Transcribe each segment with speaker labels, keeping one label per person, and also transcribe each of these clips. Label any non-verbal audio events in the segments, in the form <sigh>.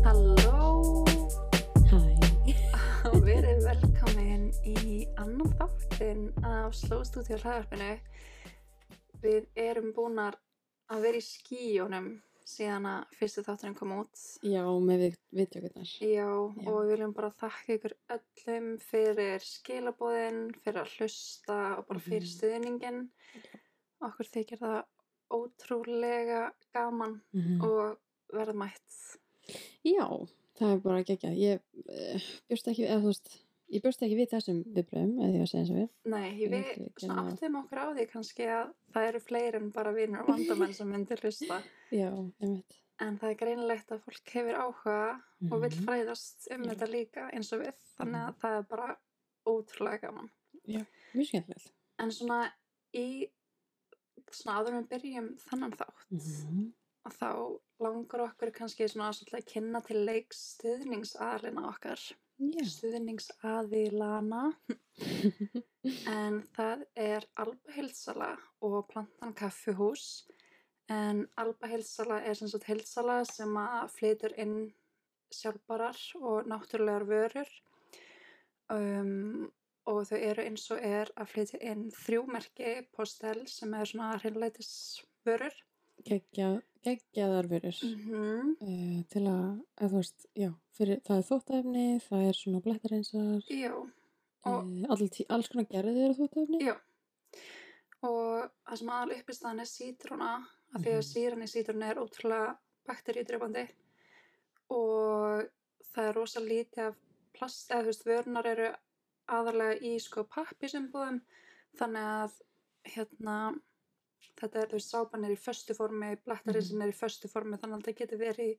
Speaker 1: Halló
Speaker 2: Hæ,
Speaker 1: og verið velkomin í annan þáttin af Slóðstúdíu hlæðarpinu. Við erum búnar að vera í skíjónum síðan að fyrstu þátturinn kom út.
Speaker 2: já, með við, viðtökurnar.
Speaker 1: Já, og við viljum bara þakka ykkur öllum fyrir skilabóðin, fyrir að hlusta og bara fyrir
Speaker 2: Mhm.
Speaker 1: stuðningin. Okkur þykir það ótrúlega gaman
Speaker 2: Mhm.
Speaker 1: og verðmætt.
Speaker 2: Já, það er bara geggjað. Ég eh, bjóst ekki, eða þú veist, ég bjóst ekki við þessum viðbröðum, eða ég var að segja eins og við.
Speaker 1: Nei,
Speaker 2: Ég
Speaker 1: við
Speaker 2: vildi ekki
Speaker 1: svona
Speaker 2: að-
Speaker 1: áttum okkur á því kannski að það eru fleiri en bara vinnur og vandamenn sem myndir hlusta.
Speaker 2: <laughs> Já, einmitt.
Speaker 1: En það er greinilegt að fólk hefur áhuga og vill
Speaker 2: Mhm.
Speaker 1: fræðast um
Speaker 2: Já. Mhm.
Speaker 1: þetta líka eins og við. Þannig að það er bara ótrúlega gaman.
Speaker 2: Mjög skemmtilegt.
Speaker 1: En svona í, svona áður en við byrjum þennan þátt,
Speaker 2: Mhm.
Speaker 1: að þá langar okkur kannski svona að svolítið að kynna til leik stuðningsaðlina okkar.
Speaker 2: Já.
Speaker 1: stuðningsaðilana en það er Alba Hilsala og Plantan Kaffuhús en Alba Hilsala er sem sagt hilsala sem að flytur inn sjálfbarar og náttúrulegar vörur um, og þau eru eins og er að flytja inn þrjúmerki postel sem er svona hreinleitisvörur
Speaker 2: Geggjað, geggjaðar vörur.
Speaker 1: mm
Speaker 2: Eh, til að, eða þú veist, já, fyrir, það er þóttæfni, það er svona blettarreinsar,
Speaker 1: Já, og
Speaker 2: eh, all, tí- alls konar gerðir af þóttæfni.
Speaker 1: Já. og það sem aðal uppistaðan er sítruna af því að
Speaker 2: Mhm.
Speaker 1: síran í sítruna er ótrúlega bakteríudrefandi og það er rosa lítið af plast eða þú veist vörunar eru aðalega í sko pappisumbúðum þannig að hérna þetta er þú veist sápan er í föstu formi blættarinn sem er í föstu formi þannig að það getur verið í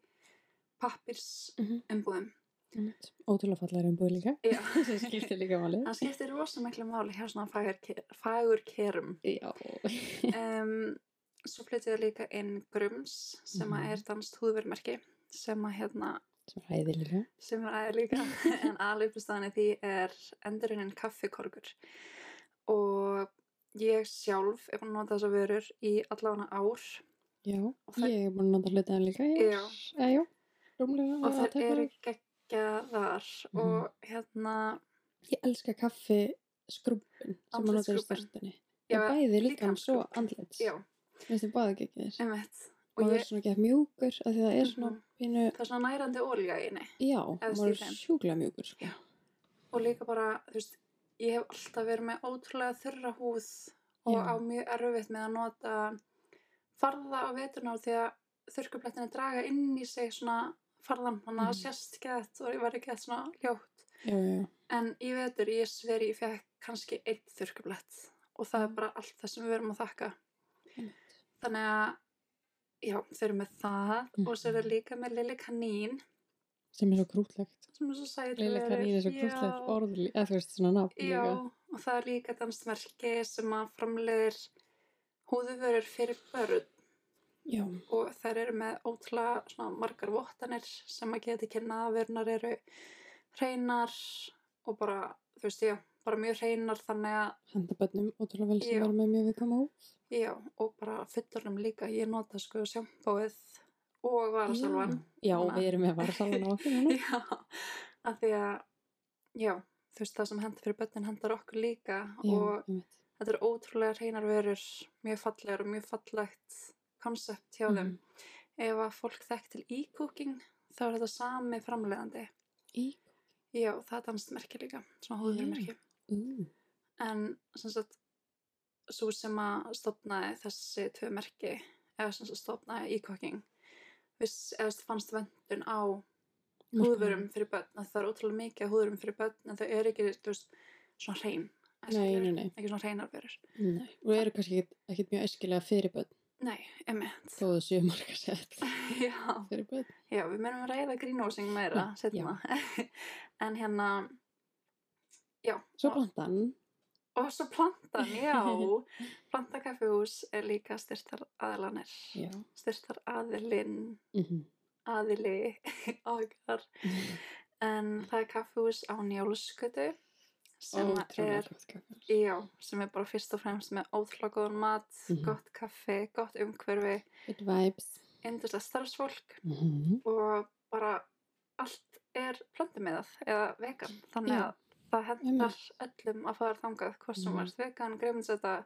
Speaker 1: pappirsumbúðum
Speaker 2: Mm Ótrúlega fallar um búið <laughs> líka.
Speaker 1: Já.
Speaker 2: Sem skiptir líka málið.
Speaker 1: það skiptir rosa miklu máli hjá svona fagur, fagur kerum
Speaker 2: Já.
Speaker 1: um, svo flyttu þau líka inn Grums sem að
Speaker 2: Mhm.
Speaker 1: er danst húðvermerki sem að hérna
Speaker 2: Sem ræðilega.
Speaker 1: sem er aðeins líka
Speaker 2: <laughs>
Speaker 1: en aðlöfustafan í því er endurinn kaffikorgur og ég sjálf er búin að nota þessa vörur í allavega ár
Speaker 2: Já,
Speaker 1: það-
Speaker 2: ég er búin að nota hlutaðan líka. ég er- Eh, já. Rúmlega.
Speaker 1: og
Speaker 2: að
Speaker 1: það
Speaker 2: taka
Speaker 1: eru
Speaker 2: þér.
Speaker 1: geggjaðar
Speaker 2: Mhm.
Speaker 1: og hérna
Speaker 2: Ég elska kaffi skrúbin sem maður notar í
Speaker 1: Andlitsskrubbinn.
Speaker 2: störtunni.
Speaker 1: Já,
Speaker 2: Ég bæði líka hann svo
Speaker 1: líkamsskrubb.
Speaker 2: andlits.
Speaker 1: já,
Speaker 2: Minnst ég báði ekki þess.
Speaker 1: einmitt og
Speaker 2: Maður
Speaker 1: ég,
Speaker 2: er svona ekki mjúkur af því það er svona
Speaker 1: Mhm.
Speaker 2: pínu,
Speaker 1: það er svona nærandi ólíga í henni
Speaker 2: já,
Speaker 1: Efst í
Speaker 2: maður er
Speaker 1: þeim.
Speaker 2: sjúklega mjúkur sko.
Speaker 1: Já. og líka bara, þú veist, ég hef alltaf verið með ótrúlega þurra húð og
Speaker 2: Já.
Speaker 1: á mjög erfitt með að nota farða á veturna því að þurrkublettinni draga inn í sig svona farðan, þannig að það
Speaker 2: Mhm.
Speaker 1: sést gett og ég var ekki gett svona hljótt.
Speaker 2: Já, já, já.
Speaker 1: En í vetur, ég sveri, ég fekk kannski eitt þurrkublett og það er bara allt það sem við verum að þakka.
Speaker 2: Mm. Einmitt.
Speaker 1: Þannig að, já, þau eru með það
Speaker 2: Mm.
Speaker 1: og svo er það líka með Lili Kanín
Speaker 2: Sem er svo krútlegt.
Speaker 1: sem er svo sætur.
Speaker 2: Leila Karín er svo krútlegt orð, lí- eða þú veist svona nafn
Speaker 1: Já,
Speaker 2: líka.
Speaker 1: og það er líka dansmerki sem að framleiðir húðuvörur fyrir börn
Speaker 2: Já.
Speaker 1: og þær eru með ótrúlega svona margar vottanir sem að geti kynna að vörunar eru hreinar og bara, þú veist, já, bara mjög hreinar þannig að,
Speaker 2: Henda bönnum ótrúlega vel sem
Speaker 1: Já.
Speaker 2: var með mjög viðkama hóp.
Speaker 1: já, og bara fullornum líka, ég nota sko sjampóið og varasalvan.
Speaker 2: Já,
Speaker 1: Núna.
Speaker 2: við erum með varsalvan á okkur núna.
Speaker 1: <laughs> Já, af því að, já, þú veist, það sem hendur fyrir börnin hendar okkur líka og
Speaker 2: Já, einmitt.
Speaker 1: Þetta er ótrúlega hreinar vörur, mjög fallegar og mjög fallegt konsept hjá þeim.
Speaker 2: Mhm.
Speaker 1: Ef að fólk þekk til e-cooking, þá er þetta sami framleiðandi.
Speaker 2: Mm. Í-
Speaker 1: Já, það er danst merki líka, svona hóðurmerki.
Speaker 2: Ú, Mm.
Speaker 1: En sem sagt, svo sem að stopnaði þessi tvö merki, eða sem sagt stopnaði e-cooking, viss eða sem fannst vendun á húðurum fyrir börn, að það er ótrúlega mikið af húðurum fyrir börn, en þau eru ekki, þú veist, svona hrein.
Speaker 2: Nei, nei, nei.
Speaker 1: Ekki svona hreinar vörur.
Speaker 2: Nei, og eru kannski ekkit, ekkit mjög æskilega fyrir börn
Speaker 1: Nei, emitt.
Speaker 2: þó það séu marga sett
Speaker 1: <laughs> Já.
Speaker 2: fyrir börn.
Speaker 1: Já, við munum að ræða grínhósing meira
Speaker 2: Mm,
Speaker 1: setna. <laughs> en hérna, já.
Speaker 2: Svo
Speaker 1: og,
Speaker 2: plantan,
Speaker 1: og svo plantan,
Speaker 2: <laughs>
Speaker 1: já. Plantakaffihús er líka styrtar aðlanir.
Speaker 2: já.
Speaker 1: Styrtar aðilinn,
Speaker 2: Mm
Speaker 1: aðili, <laughs> okkar. En það er kaffihús á njálskötu sem að
Speaker 2: Ótrúlega
Speaker 1: er,
Speaker 2: gott kaffi.
Speaker 1: já, sem er bara fyrst og fremst með ótrúlega góðan mat,
Speaker 2: Mhm.
Speaker 1: gott kaffi, gott umhverfi,
Speaker 2: Good vibes.
Speaker 1: yndursta starfsfólk
Speaker 2: Mm -hmm.
Speaker 1: og bara allt er plantumiðað eða vegan þannig að
Speaker 2: Já.
Speaker 1: það hendar
Speaker 2: Einmitt.
Speaker 1: öllum að fara þangað hvort sem
Speaker 2: Mhm.
Speaker 1: varst vegan, grefninsetta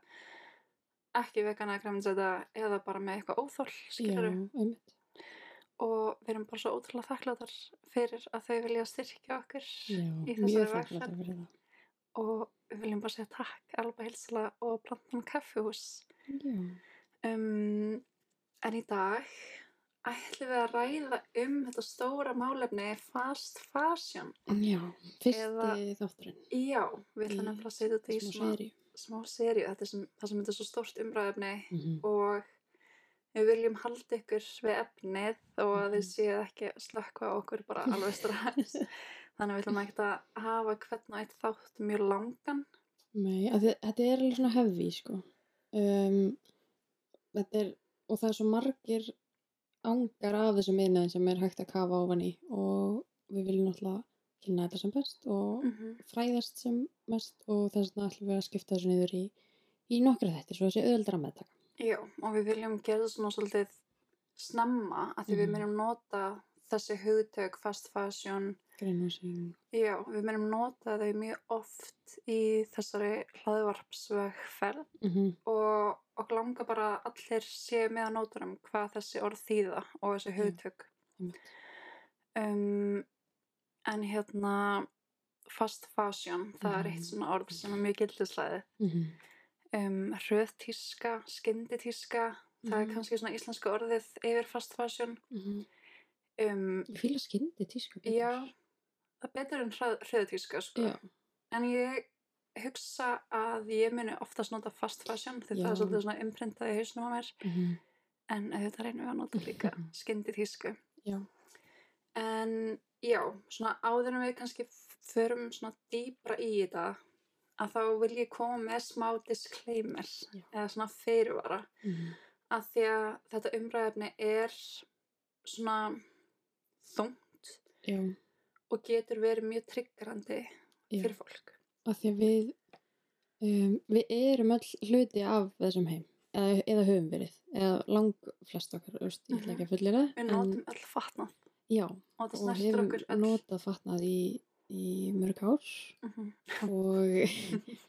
Speaker 1: ekki vegan eða grefninsetta eða bara með eitthvað óþól
Speaker 2: Já,
Speaker 1: skilur
Speaker 2: einmitt.
Speaker 1: og við erum bara svo ótrúlega þakkláttar fyrir að þau vilja styrkja okkur
Speaker 2: Já,
Speaker 1: í
Speaker 2: mjög
Speaker 1: þessari
Speaker 2: þakklátt
Speaker 1: vegferð
Speaker 2: fyrir það.
Speaker 1: og við viljum bara segja takk Alba Hilsala og Plantan Kaffihús
Speaker 2: Já,
Speaker 1: um, en í dag ætlum við að ræða um þetta stóra málefni fast fashion
Speaker 2: já fyrsti
Speaker 1: Eða-
Speaker 2: þátturinn.
Speaker 1: já, við ætlum
Speaker 2: Í
Speaker 1: nefnilega að setja þetta í
Speaker 2: smá
Speaker 1: smá,
Speaker 2: seri.
Speaker 1: smá serju þetta er sem, það sem þetta er svo stórt umræðefni
Speaker 2: Mhm.
Speaker 1: og við viljum halda ykkur við efnið þó að þið
Speaker 2: Mhm.
Speaker 1: séu ekki að slökka á okkur
Speaker 2: <laughs>
Speaker 1: bara alveg strax þannig að við ætlum ekki að hafa hvern og eitt þátt mjög langan
Speaker 2: Nei, að þið, þetta er alveg svona hefði, sko. Um, þetta er, og það er svo margir angar af þessum innæðin sem er hægt að kafa ofan í og við viljum náttúrulega kynna þetta sem best og fræðast sem mest og þess vegna ætlum við að skipta þessu niður í, í nokkra þettir svo þessi auðveldara meðtaka.
Speaker 1: Já, og við viljum gera það svona svolítið snemma að því við
Speaker 2: Mhm.
Speaker 1: myndum nota þessi hugtök, fast fashion,
Speaker 2: Greinhúsing.
Speaker 1: já, við myndum nota þau mjög oft í þessari hlaðvarpsvegferð
Speaker 2: Mm -hmm.
Speaker 1: og, og langar bara að allir séu með að nota um hvað þessi orð þýða og þessi hugtök.
Speaker 2: Mm. einmitt.
Speaker 1: Um, en hérna, fast fashion, það er eitt
Speaker 2: Mhm.
Speaker 1: svona orð sem er mjög gildislegaðið
Speaker 2: Mm -hmm.
Speaker 1: um, röðtíska, skynditíska það er
Speaker 2: Mhm.
Speaker 1: kannski svona íslenska orðið yfir fast fashion um,
Speaker 2: Ég fýla skyndi tísku. betur.
Speaker 1: já, það er betur en hrað- röðtíska sko.
Speaker 2: Já.
Speaker 1: en ég hugsa að ég muni oftast nota fast fashion því það
Speaker 2: Já.
Speaker 1: er svolítið svona imprintað í hausnum á mér
Speaker 2: Mhm.
Speaker 1: en þetta reynum við að nota líka
Speaker 2: <laughs>
Speaker 1: skynditísku
Speaker 2: Já.
Speaker 1: en já, svona áður en við kannski f- förum svona dýpra í þetta að þá vil ég koma með smá disclaimer
Speaker 2: Já.
Speaker 1: eða svona fyrirvara
Speaker 2: Mhm.
Speaker 1: að því að þetta umræðefni er svona þungt
Speaker 2: Já.
Speaker 1: og getur verið mjög tryggrandi
Speaker 2: Já.
Speaker 1: fyrir fólk.
Speaker 2: að því að við um, við erum öll hluti af þessum heim eða, eða höfum verið eða lang flest okkar öst, ég ætla ekki
Speaker 1: Mhm.
Speaker 2: að fullera
Speaker 1: Við notum öll fatnað
Speaker 2: já,
Speaker 1: og þetta
Speaker 2: og
Speaker 1: snertir
Speaker 2: hefum
Speaker 1: okkur öll.
Speaker 2: notað fatnað í, í mörg ár
Speaker 1: Mhm.
Speaker 2: og, <laughs>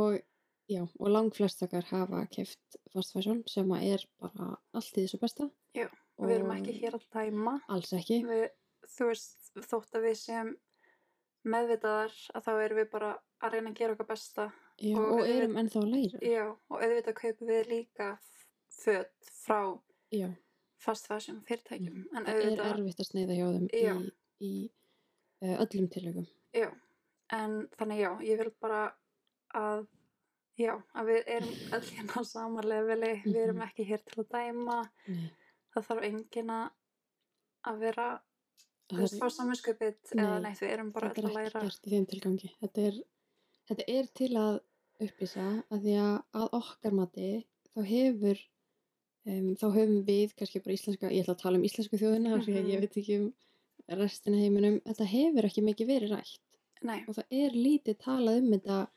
Speaker 2: og já, og lang flest okkar hafa keft fast fashion sem að er bara allt í þessu besta
Speaker 1: Já, og við erum ekki hér að dæma.
Speaker 2: alls ekki,
Speaker 1: Við, þú veist, þótt að við séum meðvitaðar að þá erum við bara að reyna að gera okkar besta.
Speaker 2: já,
Speaker 1: og
Speaker 2: og,
Speaker 1: auðvitað-
Speaker 2: erum ennþá að læra
Speaker 1: Já, og auðvitað kaupum við líka föt frá
Speaker 2: já,
Speaker 1: fast fashion fyrirtækjum. En
Speaker 2: Mm, það er
Speaker 1: auðvitað,
Speaker 2: erfitt að sneiða hjá þeim
Speaker 1: Já.
Speaker 2: í, í uh, öllum tilögum
Speaker 1: Já, en þannig já, ég vil bara að, já, að við erum öll hérna á sama leveli, við erum
Speaker 2: Mhm.
Speaker 1: ekki hér til að dæma,
Speaker 2: Nei,
Speaker 1: það þarf engin að að vera, þú
Speaker 2: það
Speaker 1: veist,
Speaker 2: er-
Speaker 1: fá saminskupið eða
Speaker 2: Nei,
Speaker 1: neitt, við erum bara öll
Speaker 2: þetta
Speaker 1: að
Speaker 2: er
Speaker 1: læra.
Speaker 2: ekki gert í þeim tilgangi þetta er, þetta er til að upplýsa að því að, að okkar mati þá hefur um, þá höfum við kannski bara íslenska ég ætla að tala um íslensku þjóðina mm -hmm.
Speaker 1: Mhm.
Speaker 2: ég veit ekki um restina af heiminum þetta hefur ekki mikið verið rætt
Speaker 1: Nei,
Speaker 2: og það er lítið talað um þetta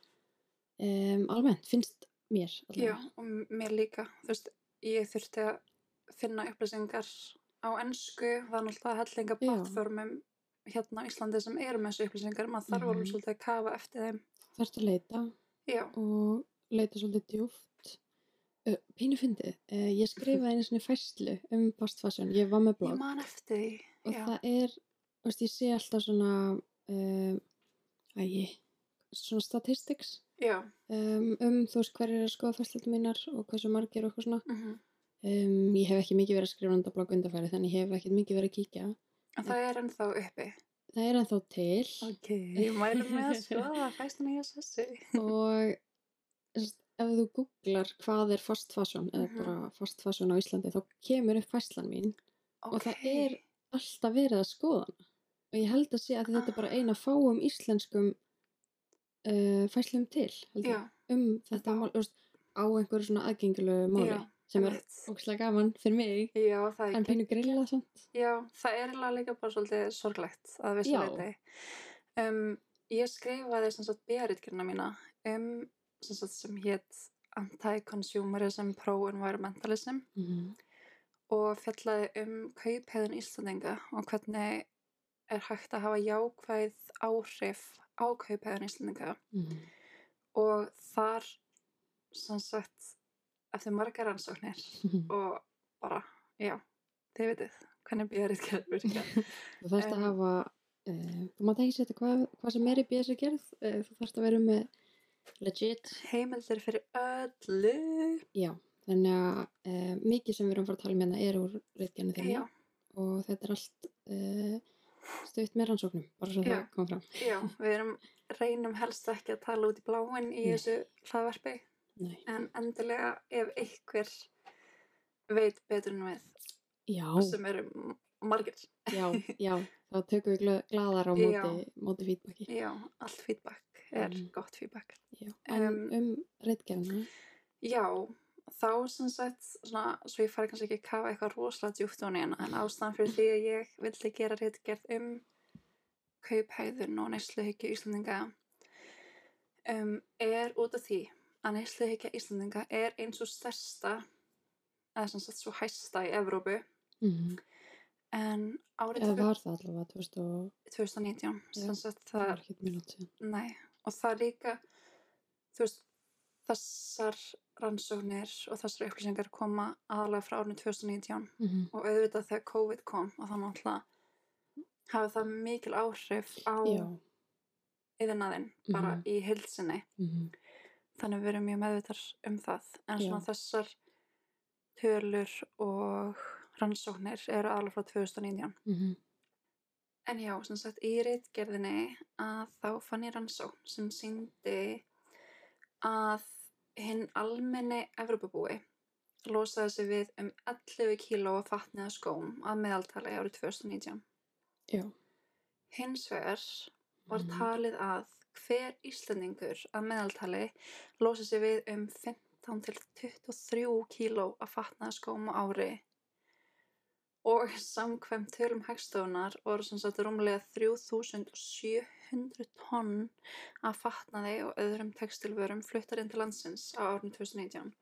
Speaker 2: um, almennt, finnst mér
Speaker 1: já,
Speaker 2: allavega.
Speaker 1: og m- mér líka, þú veist, ég þurfti að finna upplýsingar á ensku, það er náttúrulega hellinga
Speaker 2: Já.
Speaker 1: plattformum hérna á Íslandi sem eru með þessu upplýsingar, maður þarf alveg
Speaker 2: Mhm.
Speaker 1: svolítið að kafa eftir þeim.
Speaker 2: þarfst að leita
Speaker 1: Já,
Speaker 2: og leita svolítið djúft Ö, pínu fyndið, Eh, ég skrifaði einu svona færslu um postfasjón, ég var með blog
Speaker 1: ég man eftir því.
Speaker 2: og
Speaker 1: já.
Speaker 2: það er, þú veist, ég sé alltaf svona um, ægi, svona statistics
Speaker 1: Já,
Speaker 2: um, um þú veist hverju er að skoða færslutum mínar og hversu margir og eitthvað svona
Speaker 1: mhm.
Speaker 2: um, ég hef ekki mikið verið að skrifa enda blogg undarfæri þannig ég hef ekki mikið verið að kíkja
Speaker 1: En það er ennþá uppi.
Speaker 2: það er ennþá til
Speaker 1: Ok, ég mæri með að skoða fæstina í SS.
Speaker 2: <laughs> og þú veist, ef þú googlar hvað er fast fashion eða
Speaker 1: Mhm.
Speaker 2: bara fast fashion á Íslandi þá kemur upp færslan mín
Speaker 1: Okay.
Speaker 2: Og það er- alltaf verið að skoða hana og ég held að sé að þetta er bara eina fáum íslenskum uh, fæslum til held
Speaker 1: Já,
Speaker 2: ég, um þetta
Speaker 1: Þetta-
Speaker 2: mál úst, á einhverju svona aðgengilegu máli
Speaker 1: Já,
Speaker 2: sem er
Speaker 1: einmitt.
Speaker 2: ókslega gaman fyrir mig
Speaker 1: Já, það
Speaker 2: en
Speaker 1: er
Speaker 2: pínu grilla samt
Speaker 1: Já, það er eiginlega líka bara svolítið sorglegt að vissu
Speaker 2: Já.
Speaker 1: leiti. Um, ég skrifaði sem sagt bíaritgerna mína um sem sagt sem hétt Anti-Consumerism Pro-Environmentalism
Speaker 2: mm -hmm.
Speaker 1: og fjallaði um kaupheðin Íslandinga og hvernig er hægt að hafa jákvæð áhrif á kaupæðan íslendinga
Speaker 2: Mm.
Speaker 1: og þar sem sagt eftir margar rannsóknir og bara, já, þið vitið hvernig býðarið gerð virka
Speaker 2: <laughs> Þú þarfst að
Speaker 1: En-
Speaker 2: hafa, uh, þú mátt ekki setja hvað, hvað sem er í BS að gerð, uh, þú þarfst að vera með legit,
Speaker 1: heimildir fyrir öllu
Speaker 2: já, þannig að uh, mikið sem við erum að fara að tala um hérna er úr reytgjanu þinni
Speaker 1: já,
Speaker 2: og þetta er allt uh, stutt með rannsóknum, bara svo
Speaker 1: Já.
Speaker 2: það kom fram.
Speaker 1: já, við erum reynum helst ekki að tala út í bláin í
Speaker 2: Nei.
Speaker 1: þessu hlaðvarpi
Speaker 2: Nei.
Speaker 1: en endilega ef einhver veit betur en við
Speaker 2: Já,
Speaker 1: sem eru m- margir
Speaker 2: já, já, þá tökum við gla- glaðar á
Speaker 1: Já.
Speaker 2: móti, móti feedbacki.
Speaker 1: já, allt feedback er
Speaker 2: Mm.
Speaker 1: gott feedback
Speaker 2: Já. En
Speaker 1: Em,
Speaker 2: um reytgjana,
Speaker 1: já, þá sem sagt svona, svo ég fari kannski ekki að kafa eitthvað rosalega djúpt á neina en ástæðan fyrir því að ég vildi gera réttgerð um kauphæðun og neysluhyggju Íslandinga um, er út af því að neysluhyggja Íslandinga er eins og stærsta eða sem sagt svo hæsta í Evrópu
Speaker 2: mm.
Speaker 1: en árið
Speaker 2: eða var það allavega, þú veist, og
Speaker 1: 2019
Speaker 2: Já.
Speaker 1: sem sagt
Speaker 2: það
Speaker 1: það
Speaker 2: var ekki mjög langt síðan.
Speaker 1: Nei, og það líka, þú veist, þessar rannsóknir og þessar upplýsingar koma aðalega frá árinu 2019
Speaker 2: Mm.
Speaker 1: og auðvitað þegar COVID kom og það náttúrulega hafi það mikil áhrif á
Speaker 2: Já,
Speaker 1: yðinaðinn bara
Speaker 2: Mhm.
Speaker 1: í hilsinni.
Speaker 2: mm.
Speaker 1: Þannig að við erum mjög meðvitar um það. En
Speaker 2: Já.
Speaker 1: svona þessar tölur og rannsóknir eru aðalega frá 2019.
Speaker 2: Mm.
Speaker 1: En já, sem sagt, í reitgerðinni að þá fann ég rannsókn sem síndi að hinn almenni Evrópabúi losaði sig við um 11 kíló af fatniða skóm að meðaltali árið 2019.
Speaker 2: já.
Speaker 1: Hins vegar var
Speaker 2: Mhm.
Speaker 1: talið að hver Íslandingur að meðaltali losaði sig við um 15 til 23 kíló af fatniða skóm á ári og samkvæm tölum hagstofunar voru sem sagt rúmlega 3700 tonn að fatnaði og öðrum textilvörum fluttar inn til landsins á árinu 2019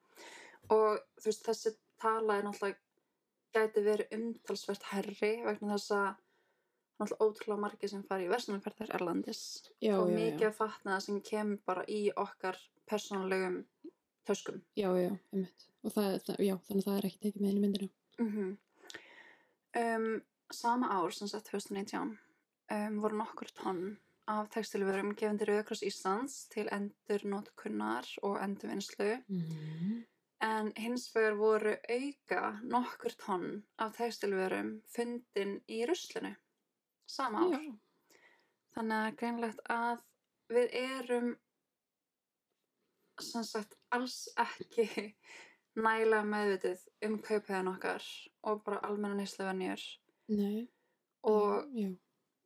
Speaker 1: og þú veist þessi tala er náttúrulega gæti verið umtalsvert herri vegna þess að náttúrulega ótrúlega margir sem fara í verslunarferðar erlandis
Speaker 2: Já,
Speaker 1: og
Speaker 2: já, já.
Speaker 1: mikið að fatnaða sem kemur bara í okkar persónulegum töskum
Speaker 2: Já, já, einmitt. Og það, það, já, þannig að það er ekki tekið með henni myndina.
Speaker 1: Mhm. um, sama ár sem sett 2019 um, voru nokkur tonn af textilvörum gefindir Rauðakross Íslands til endur notkunnar og endurvinnslu Mhm.
Speaker 2: Mm.
Speaker 1: en hins vegar voru auka nokkur tonn af textilvörum fundin í ruslinu sama ár
Speaker 2: Já,
Speaker 1: þannig að greinlegt að við erum sem sagt alls ekki <laughs> nægilega meðvitið um kaupiðan okkar og bara almenna nýsluvenjur
Speaker 2: nei.
Speaker 1: og
Speaker 2: Já,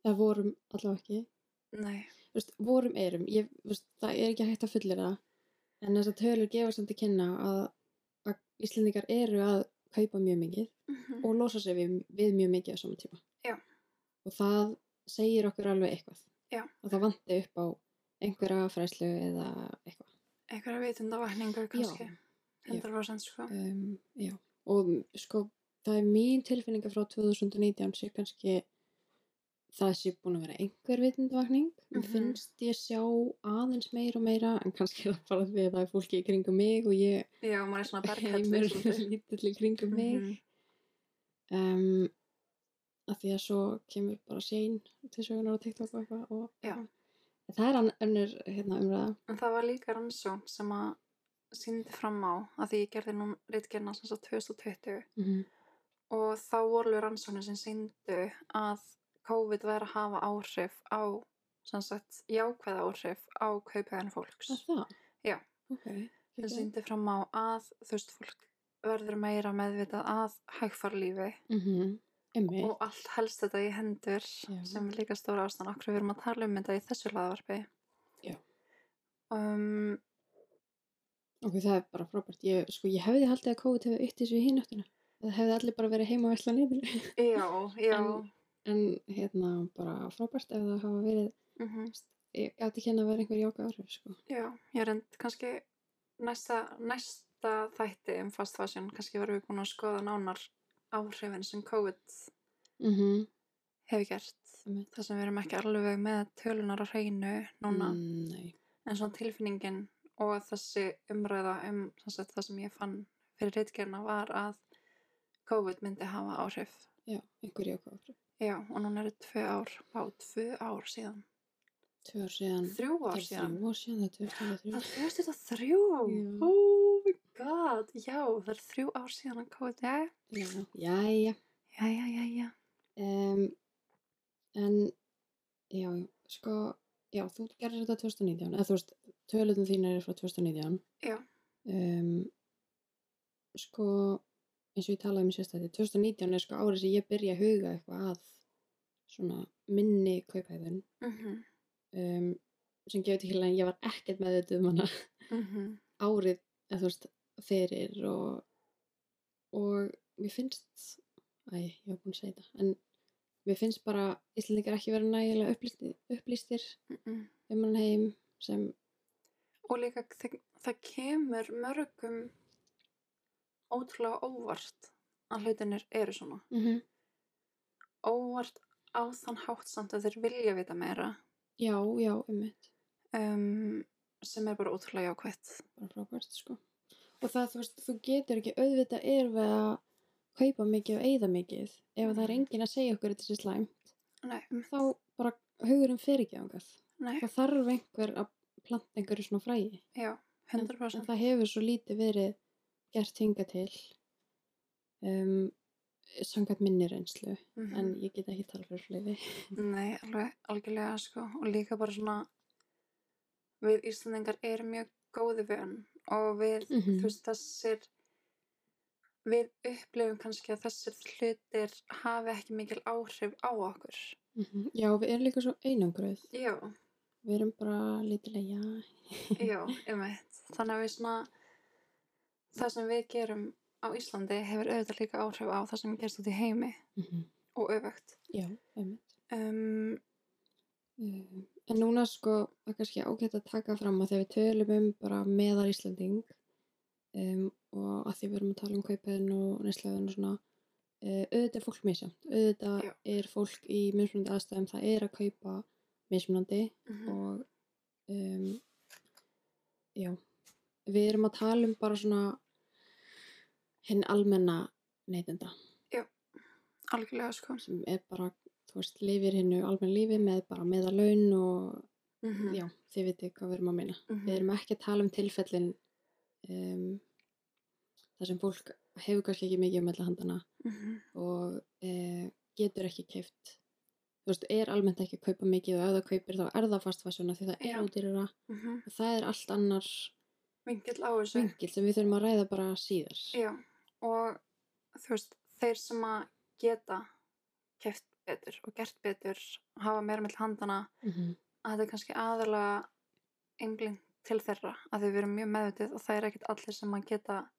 Speaker 2: það vorum allavega ekki. Mm.
Speaker 1: nei,
Speaker 2: Þú veist, vorum erum, ég, þú veist, það er ekki hægt að fullir það. En þess að tölur gefa samt að kynna að, að Íslendingar eru að kaupa mjög mikið
Speaker 1: Mhm.
Speaker 2: og losa sig við, við mjög mikið á sama tíma.
Speaker 1: Já.
Speaker 2: Og það segir okkur alveg eitthvað.
Speaker 1: Já.
Speaker 2: Að það vanti upp á einhverja fræslu eða eitthvað.
Speaker 1: einhverja vitundavakningu kannski, 100% sko
Speaker 2: um, já, og m- sko það er mín tilfinninga frá 2019 sé kannski það sé búin að vera einhver vitundvakning mér
Speaker 1: Mhm.
Speaker 2: finnst ég sjá aðeins meira og meira en kannski er það bara því að það er fólki í kringum mig og ég
Speaker 1: já, maður
Speaker 2: <laughs>
Speaker 1: er svona
Speaker 2: heimur
Speaker 1: berghættur svolítið.
Speaker 2: lítill í kringum mig
Speaker 1: Mhm.
Speaker 2: um, að því að svo kemur bara sein til sögunar á TikTok og eitthvað og
Speaker 1: Já.
Speaker 2: En það er ann- önnur hérna umræða
Speaker 1: en það var líka rannsókn sem að síndi fram á að því ég gerði nú reitgerna sem sagt 2020
Speaker 2: mm
Speaker 1: og þá voru alveg rannsóknir sem síndu að COVID væri að hafa áhrif á, sem sagt, jákvæða áhrif á kaupæðan fólks.
Speaker 2: að það?
Speaker 1: Já.
Speaker 2: ok,
Speaker 1: Það síndi fram á að þú veist fólk verður meira meðvitað að hægfarlífi
Speaker 2: mm -hmm. emmi
Speaker 1: og allt helst þetta í hendur
Speaker 2: Já.
Speaker 1: sem er líka stóra ástæðan okkur við erum að tala um þetta í þessu laðvarpi.
Speaker 2: Já.
Speaker 1: Um,
Speaker 2: Ok, það er bara frábært. Ég, sko, ég hefði haldið að COVID hefði ytt þessu í hináttina. Það hefði allir bara verið heima að vesla niður. <laughs>
Speaker 1: já, já.
Speaker 2: En- En hérna, bara frábært ef það hafa verið,
Speaker 1: Mm
Speaker 2: ég gæti ekki henni að vera einhver jóka áhrif, sko.
Speaker 1: Já, ég reynd kannski næsta, næsta þætti um fast fashion, kannski verðum við búin að skoða nánar áhrifin sem COVID
Speaker 2: Mm -hmm.
Speaker 1: hefur gert
Speaker 2: Einmitt.
Speaker 1: þar sem við erum ekki alveg með tölunar á hreinu núna
Speaker 2: Mm, nei.
Speaker 1: en svona tilfinningin og þessi umræða um sem sagt, það sem ég fann fyrir reitgerna var að COVID myndi hafa áhrif
Speaker 2: Já, einhver jákvæð áhrif.
Speaker 1: já og núna eru tvö ár bá tvö ár síðan
Speaker 2: Tvö ár síðan.
Speaker 1: þrjú
Speaker 2: Það
Speaker 1: ár
Speaker 2: er
Speaker 1: síðan
Speaker 2: Mm. Þrjú ár síðan, það er 2023.
Speaker 1: það er 2003
Speaker 2: Já.
Speaker 1: oh my god já það er þrjú ár síðan að COVID já
Speaker 2: Já, jæja.
Speaker 1: já já já, já.
Speaker 2: Um, en, já, sko, já, þú gerir þetta 2019, eða þú veist, töluðum þín eru frá 2019.
Speaker 1: Já.
Speaker 2: Um, sko, eins og ég talaði um sérstætti, 2019 er sko árið sem ég byrja að huga eitthvað að svona minni kaupæðun
Speaker 1: Mhm,
Speaker 2: um, sem gefur til hérna en ég var ekkert með þetta um hana
Speaker 1: mhm,
Speaker 2: árið, eða þú veist, fyrir og, og mér finnst, æ, ég var búin að segja þetta, en mér finnst bara Íslandingar ekki vera nægilega upplýstir, upplýstir
Speaker 1: mhm.
Speaker 2: um hann heim sem,
Speaker 1: og líka það, það kemur mörgum ótrúlega óvart að hlutinir eru svona
Speaker 2: mm -hmm.
Speaker 1: óvart á þann hátt samt að þeir vilja vita meira
Speaker 2: já, já, ummitt,
Speaker 1: um, sem er bara ótrúlega jákvætt
Speaker 2: bara frábært, sko. Og það, þú veist, þú getur ekki auðvitað er við að kaupa mikið og eyða mikið ef það er
Speaker 1: Mhm.
Speaker 2: enginn að segja okkur að þetta sé slæm,
Speaker 1: nei,
Speaker 2: þá bara hugurinn fer ekki ángað.
Speaker 1: nei,
Speaker 2: Það þarf einhver að planta einhverju svona fræi.
Speaker 1: já,
Speaker 2: en
Speaker 1: 100%
Speaker 2: það hefur svo lítið verið gert hinga til um, sangat minni reynslu
Speaker 1: Mhm.
Speaker 2: en ég get ekki tala fyrir fleiri
Speaker 1: nei, alveg, algjörlega sko og líka bara svona við Íslandingar erum mjög góði vön og við
Speaker 2: Mhm.
Speaker 1: þú veist, þessir við upplifum kannski að þessir hlutir hafi ekki mikil áhrif á okkur.
Speaker 2: já við erum líka svo einangröð
Speaker 1: Já,
Speaker 2: við erum bara lítilega já
Speaker 1: já, <laughs> einmitt. Þannig að við svona, það sem við gerum á Íslandi hefur auðvitað líka áhrif á það sem gerst út í heimi og öfugt.
Speaker 2: já, einmitt
Speaker 1: Um,
Speaker 2: um, en núna sko það er kannski ágætt að taka fram að þegar við tölum um bara meðar Íslanding um, og að því við erum að tala um kaupiðin og neslaðin og svona uh, auðvitað er fólk misjönd auðvitað
Speaker 1: Já.
Speaker 2: er fólk í mismunandi aðstæðum það er að kaupa mismunandi
Speaker 1: mhm,
Speaker 2: Mm. og um, já við erum að tala um bara svona hinn almenna neytenda
Speaker 1: algjörlega sko.
Speaker 2: sem er bara, þú veist, lifir hinnu almenna lífi með bara meðalaun og
Speaker 1: Mhm,
Speaker 2: já, þið vitið hvað við erum að meina
Speaker 1: mhm,
Speaker 2: við erum ekki að tala um tilfellin um, þar sem fólk hefur kannski ekki mikið um alla handana
Speaker 1: mhm,
Speaker 2: og e, getur ekki keift þú veist, er almennt ekki að kaupa mikið og ef það kaupir þá er það fastfæsuna því það
Speaker 1: Já.
Speaker 2: er útýrara
Speaker 1: mhm.
Speaker 2: og það er allt annar
Speaker 1: Vingill á þessu.
Speaker 2: vingil sem við þurfum að ræða bara síðar
Speaker 1: Já, og þú veist, þeir sem að geta keft betur og gert betur hafa meira með handana
Speaker 2: mm -hmm.
Speaker 1: að þetta er kannski aðalega einblind til þeirra að þau verum mjög meðvitið og það er ekkert allir sem að geta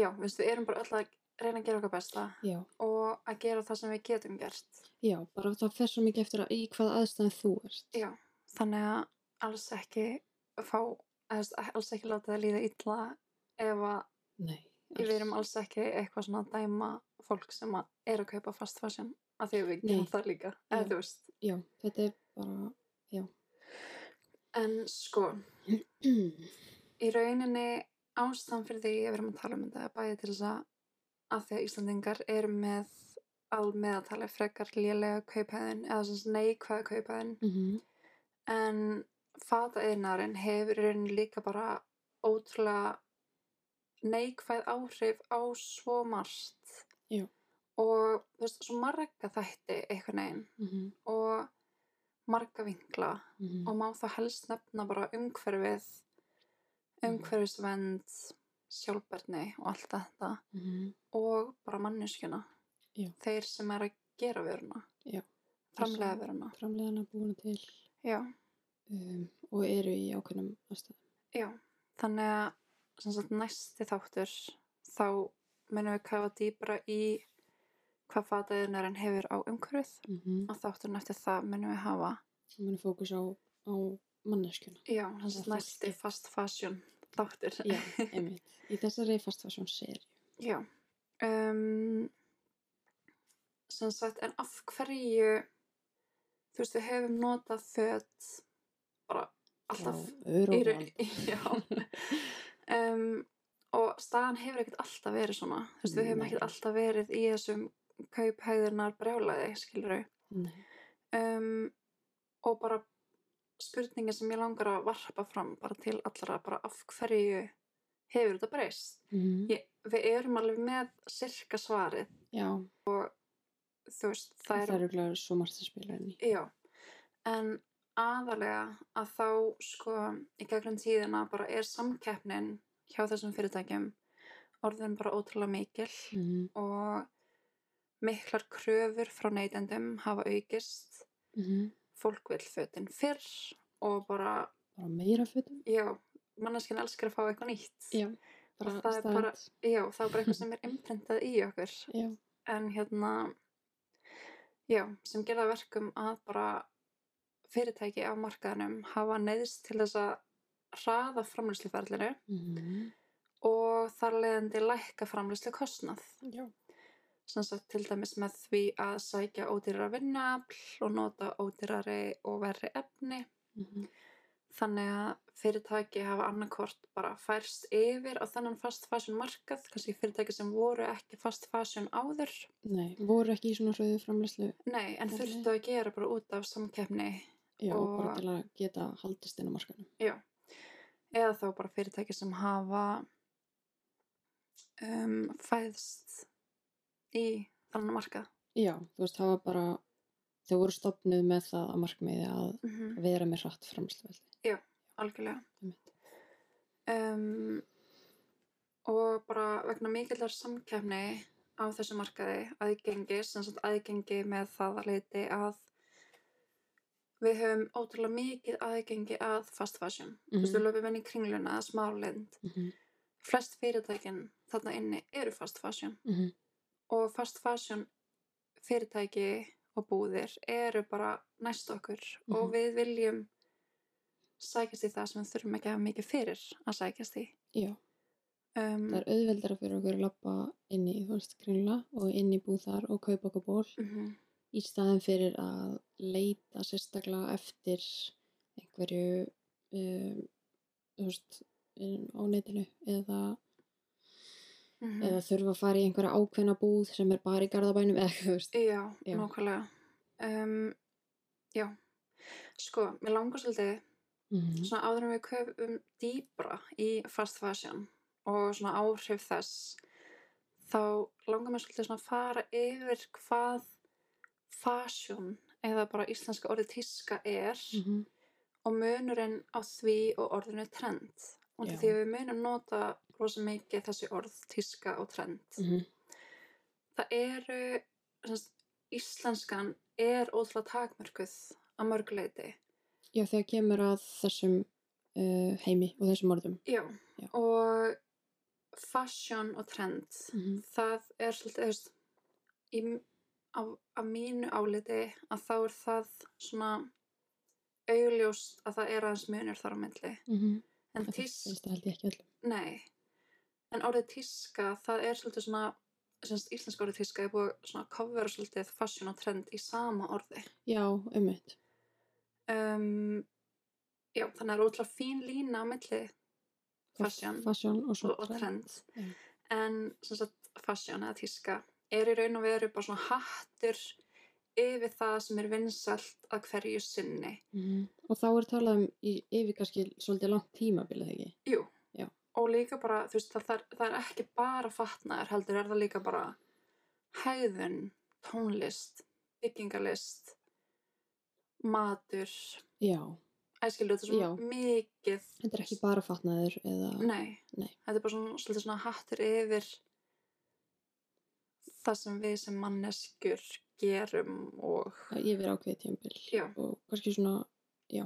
Speaker 1: já, þú veist, við erum bara öll að reyna að gera okkar besta
Speaker 2: já,
Speaker 1: og að gera það sem við getum gert
Speaker 2: já, bara það fer svo mikið eftir að í hvað aðstæðan þú ert
Speaker 1: Já. þannig að alls ekki fá, eða þú veist, alls ekki láta það líða illa ef að
Speaker 2: Nei,
Speaker 1: við erum
Speaker 2: alls-
Speaker 1: alls ekki eitthvað svona að dæma fólk sem að er að kaupa fast fashion að því að við gerum
Speaker 2: Nei.
Speaker 1: það líka eða
Speaker 2: Já.
Speaker 1: þú veist
Speaker 2: já, þetta er bara
Speaker 1: en sko, í rauninni ástæðan fyrir því að við erum að tala um þetta er bæði til þess að að því að Íslandingar eru með almeðatali frekar lélega kaupæðin eða svona neikvæða kaupæðin
Speaker 2: mm -hmm.
Speaker 1: en fataðinarinn hefur í rauninni líka bara ótrúlega neikvæð áhrif á svo margt
Speaker 2: Já.
Speaker 1: og þú veist, svo marga þætti einhvern veginn
Speaker 2: Mm -hmm.
Speaker 1: og marga vingla
Speaker 2: Mm -hmm.
Speaker 1: og má þá helst nefna bara umhverfið
Speaker 2: Mm.
Speaker 1: umhverfisvend sjálfbarni og allt þetta
Speaker 2: mhm.
Speaker 1: og bara manneskjuna
Speaker 2: Já.
Speaker 1: þeir sem er að gera vöruna
Speaker 2: Já.
Speaker 1: framlega vöruna
Speaker 2: framleiðana búin til
Speaker 1: já,
Speaker 2: um, og eru í ákveðnum aðstæðum.
Speaker 1: já. þannig að sem sagt, næsti þáttur þá munum við kafa dýbra í hvað fataðinarinn hefur á umhverfið
Speaker 2: Mm -hmm.
Speaker 1: og þátturinn eftir það munum við hafa
Speaker 2: Það munir fókus á, á manneskjuna.
Speaker 1: já, sem sagt,
Speaker 2: Eða
Speaker 1: næsti fast fashion þáttur <laughs>
Speaker 2: Já, einmitt. Í þessari fastfæsjón seri.
Speaker 1: Já. Um, sem sagt, en af hverju, þú veist, við höfum notað föt bara alltaf í
Speaker 2: Öru
Speaker 1: raun- <laughs> já. um, og staðan hefur ekkert alltaf verið svona Þú veist, við höfum
Speaker 2: Nei.
Speaker 1: ekkert alltaf verið í þessum kauphæðurnar brjálaði skilur
Speaker 2: Nei.
Speaker 1: um, og bara spurningin sem ég langar að varpa fram bara til allra, bara af hverju hefur þetta breyst
Speaker 2: Mm.
Speaker 1: ég, við erum alveg með sirka svarið
Speaker 2: Já,
Speaker 1: þú veist, það
Speaker 2: það
Speaker 1: er,
Speaker 2: eru glæður svo margt að spila henni.
Speaker 1: já en aðalega að þá sko í gegnum tíðina bara er samkeppnin hjá þessum fyrirtækjum orðin bara ótrúlega mikil Mhm,
Speaker 2: Mm.
Speaker 1: og miklar kröfur frá neytendum hafa aukist
Speaker 2: Mm.
Speaker 1: fólk vil fötin fyrr og bara
Speaker 2: Bara meira fötum.
Speaker 1: já, manneskinn elskar að fá eitthvað nýtt
Speaker 2: Já, bara
Speaker 1: það er
Speaker 2: staðan.
Speaker 1: bara- já það er bara eitthvað sem er imprintað í okkur
Speaker 2: Já,
Speaker 1: en hérna já, sem gerða verkum að bara fyrirtæki á markaðanum hafa neyðst til þess að hraða framlýsluferðlinu
Speaker 2: mm.
Speaker 1: og þar leiðandi lækka framlýslu kostnað
Speaker 2: já.
Speaker 1: sem sagt til dæmis með því að sækja ódýrara vinnuafl og nota ódýrari og verri efni
Speaker 2: Mm.
Speaker 1: þannig að fyrirtæki hafa annarkvort bara færst yfir á þennan fast fashion markað, kannski fyrirtæki sem voru ekki fast fashion áður
Speaker 2: Nei, voru ekki í svona hröðu framlæslu
Speaker 1: nei, en
Speaker 2: Nei.
Speaker 1: þurftu að gera bara út af samkeppni
Speaker 2: Já,
Speaker 1: Og-
Speaker 2: bara til að geta haldist inn á markanum.
Speaker 1: eða þá bara fyrirtæki sem hafa um, fæðst í þannan markað
Speaker 2: Já, þú veist, það var bara, þau voru stopnuð með það að markmiði að
Speaker 1: mm
Speaker 2: vera með hratt framsluvelli.
Speaker 1: algjörlega um, og bara vegna mikillar samkeppni á þessu markaði aðgengi, sem sagt aðgengi með það að leiti að við höfum ótrúlega mikið aðgengi að fast fashion þú veist,
Speaker 2: Mhm.
Speaker 1: við löfum inn í kringluna eða smáralind
Speaker 2: Mm -hmm.
Speaker 1: flest fyrirtækin þarna inni eru fast fashion
Speaker 2: Mm -hmm.
Speaker 1: og fast fashion fyrirtæki og búðir eru bara næst okkur og
Speaker 2: Mhm.
Speaker 1: við viljum sækjast í það sem við þurfum ekki að hafa mikið fyrir að sækjast í
Speaker 2: Já,
Speaker 1: um,
Speaker 2: það er auðveldara fyrir okkur að lappa inn í, þú veist, kringla og inn í búð þar og kaupa okkur ból
Speaker 1: Mhm,
Speaker 2: í staðin fyrir að leita sérstaklega eftir einhverju um, þú veist, um, á netinu eða,
Speaker 1: mhm.
Speaker 2: eða þurfa að fara í einhverja ákveðna búð sem er bara í garðabænum <laughs> eða, þú veist,
Speaker 1: Já,
Speaker 2: Já.
Speaker 1: nákvæmlega. Um, já, sko, mér langar svolítið,
Speaker 2: Mhm.
Speaker 1: svona áður en við köfum dýbra í fast fashion og svona áhrif þess, þá langar mér svolítið svona að fara yfir hvað fashion eða bara íslenska orðið tíska er
Speaker 2: Mhm.
Speaker 1: og munurinn á því og orðinu trend. Og
Speaker 2: Já.
Speaker 1: því að við munum nota rosa mikið þessi orð tíska og trend
Speaker 2: Mhm.
Speaker 1: það eru sem sagt, íslenskan er ótrúlega takmörkuð að mörguleiti
Speaker 2: Já, þegar kemur að þessum uh, heimi og þessum orðum.
Speaker 1: já.
Speaker 2: Já.
Speaker 1: og fashion og trend
Speaker 2: Mhm.
Speaker 1: það er svolítið þú veist, í, á, á mínu áliti að þá er það svona augljóst að það er aðeins munur þar á myndli en
Speaker 2: Það
Speaker 1: tísk
Speaker 2: mhm. finnst það held ég ekki öllum.
Speaker 1: Nei, en orðið tíska, það er svolítið svona, semst íslenska orðið tíska er búið að svona að covera svolítið fashion og trend í sama orði.
Speaker 2: Já, ummitt.
Speaker 1: Um, já, þannig að það er ótrúlega fín lína á milli fashion
Speaker 2: Fasjón og
Speaker 1: og,
Speaker 2: svo
Speaker 1: og trend.
Speaker 2: Já.
Speaker 1: En sem sagt fashion eða tíska er í raun og veru bara svona hattur yfir það sem er vinsalt að hverju sinni.
Speaker 2: Mhm. Og þá er talað um í yfir kannski svolítið langt tímabilið ekki.
Speaker 1: Jú.
Speaker 2: Já.
Speaker 1: Og líka bara, þú veist, það, það, er, það er ekki bara fatnaður heldur, er það líka bara hæðun, tónlist, byggingalist, matur,
Speaker 2: Já,
Speaker 1: æskildu, þetta er svona
Speaker 2: Já.
Speaker 1: mikið.
Speaker 2: þetta er ekki bara fatnaður eða...
Speaker 1: Nei.
Speaker 2: Nei.
Speaker 1: Þetta er bara svona, svolítið svona hattur yfir það sem við sem manneskjur gerum og,
Speaker 2: að Yfir ákveðið tímabil.
Speaker 1: Já.
Speaker 2: Og kannski svona, já,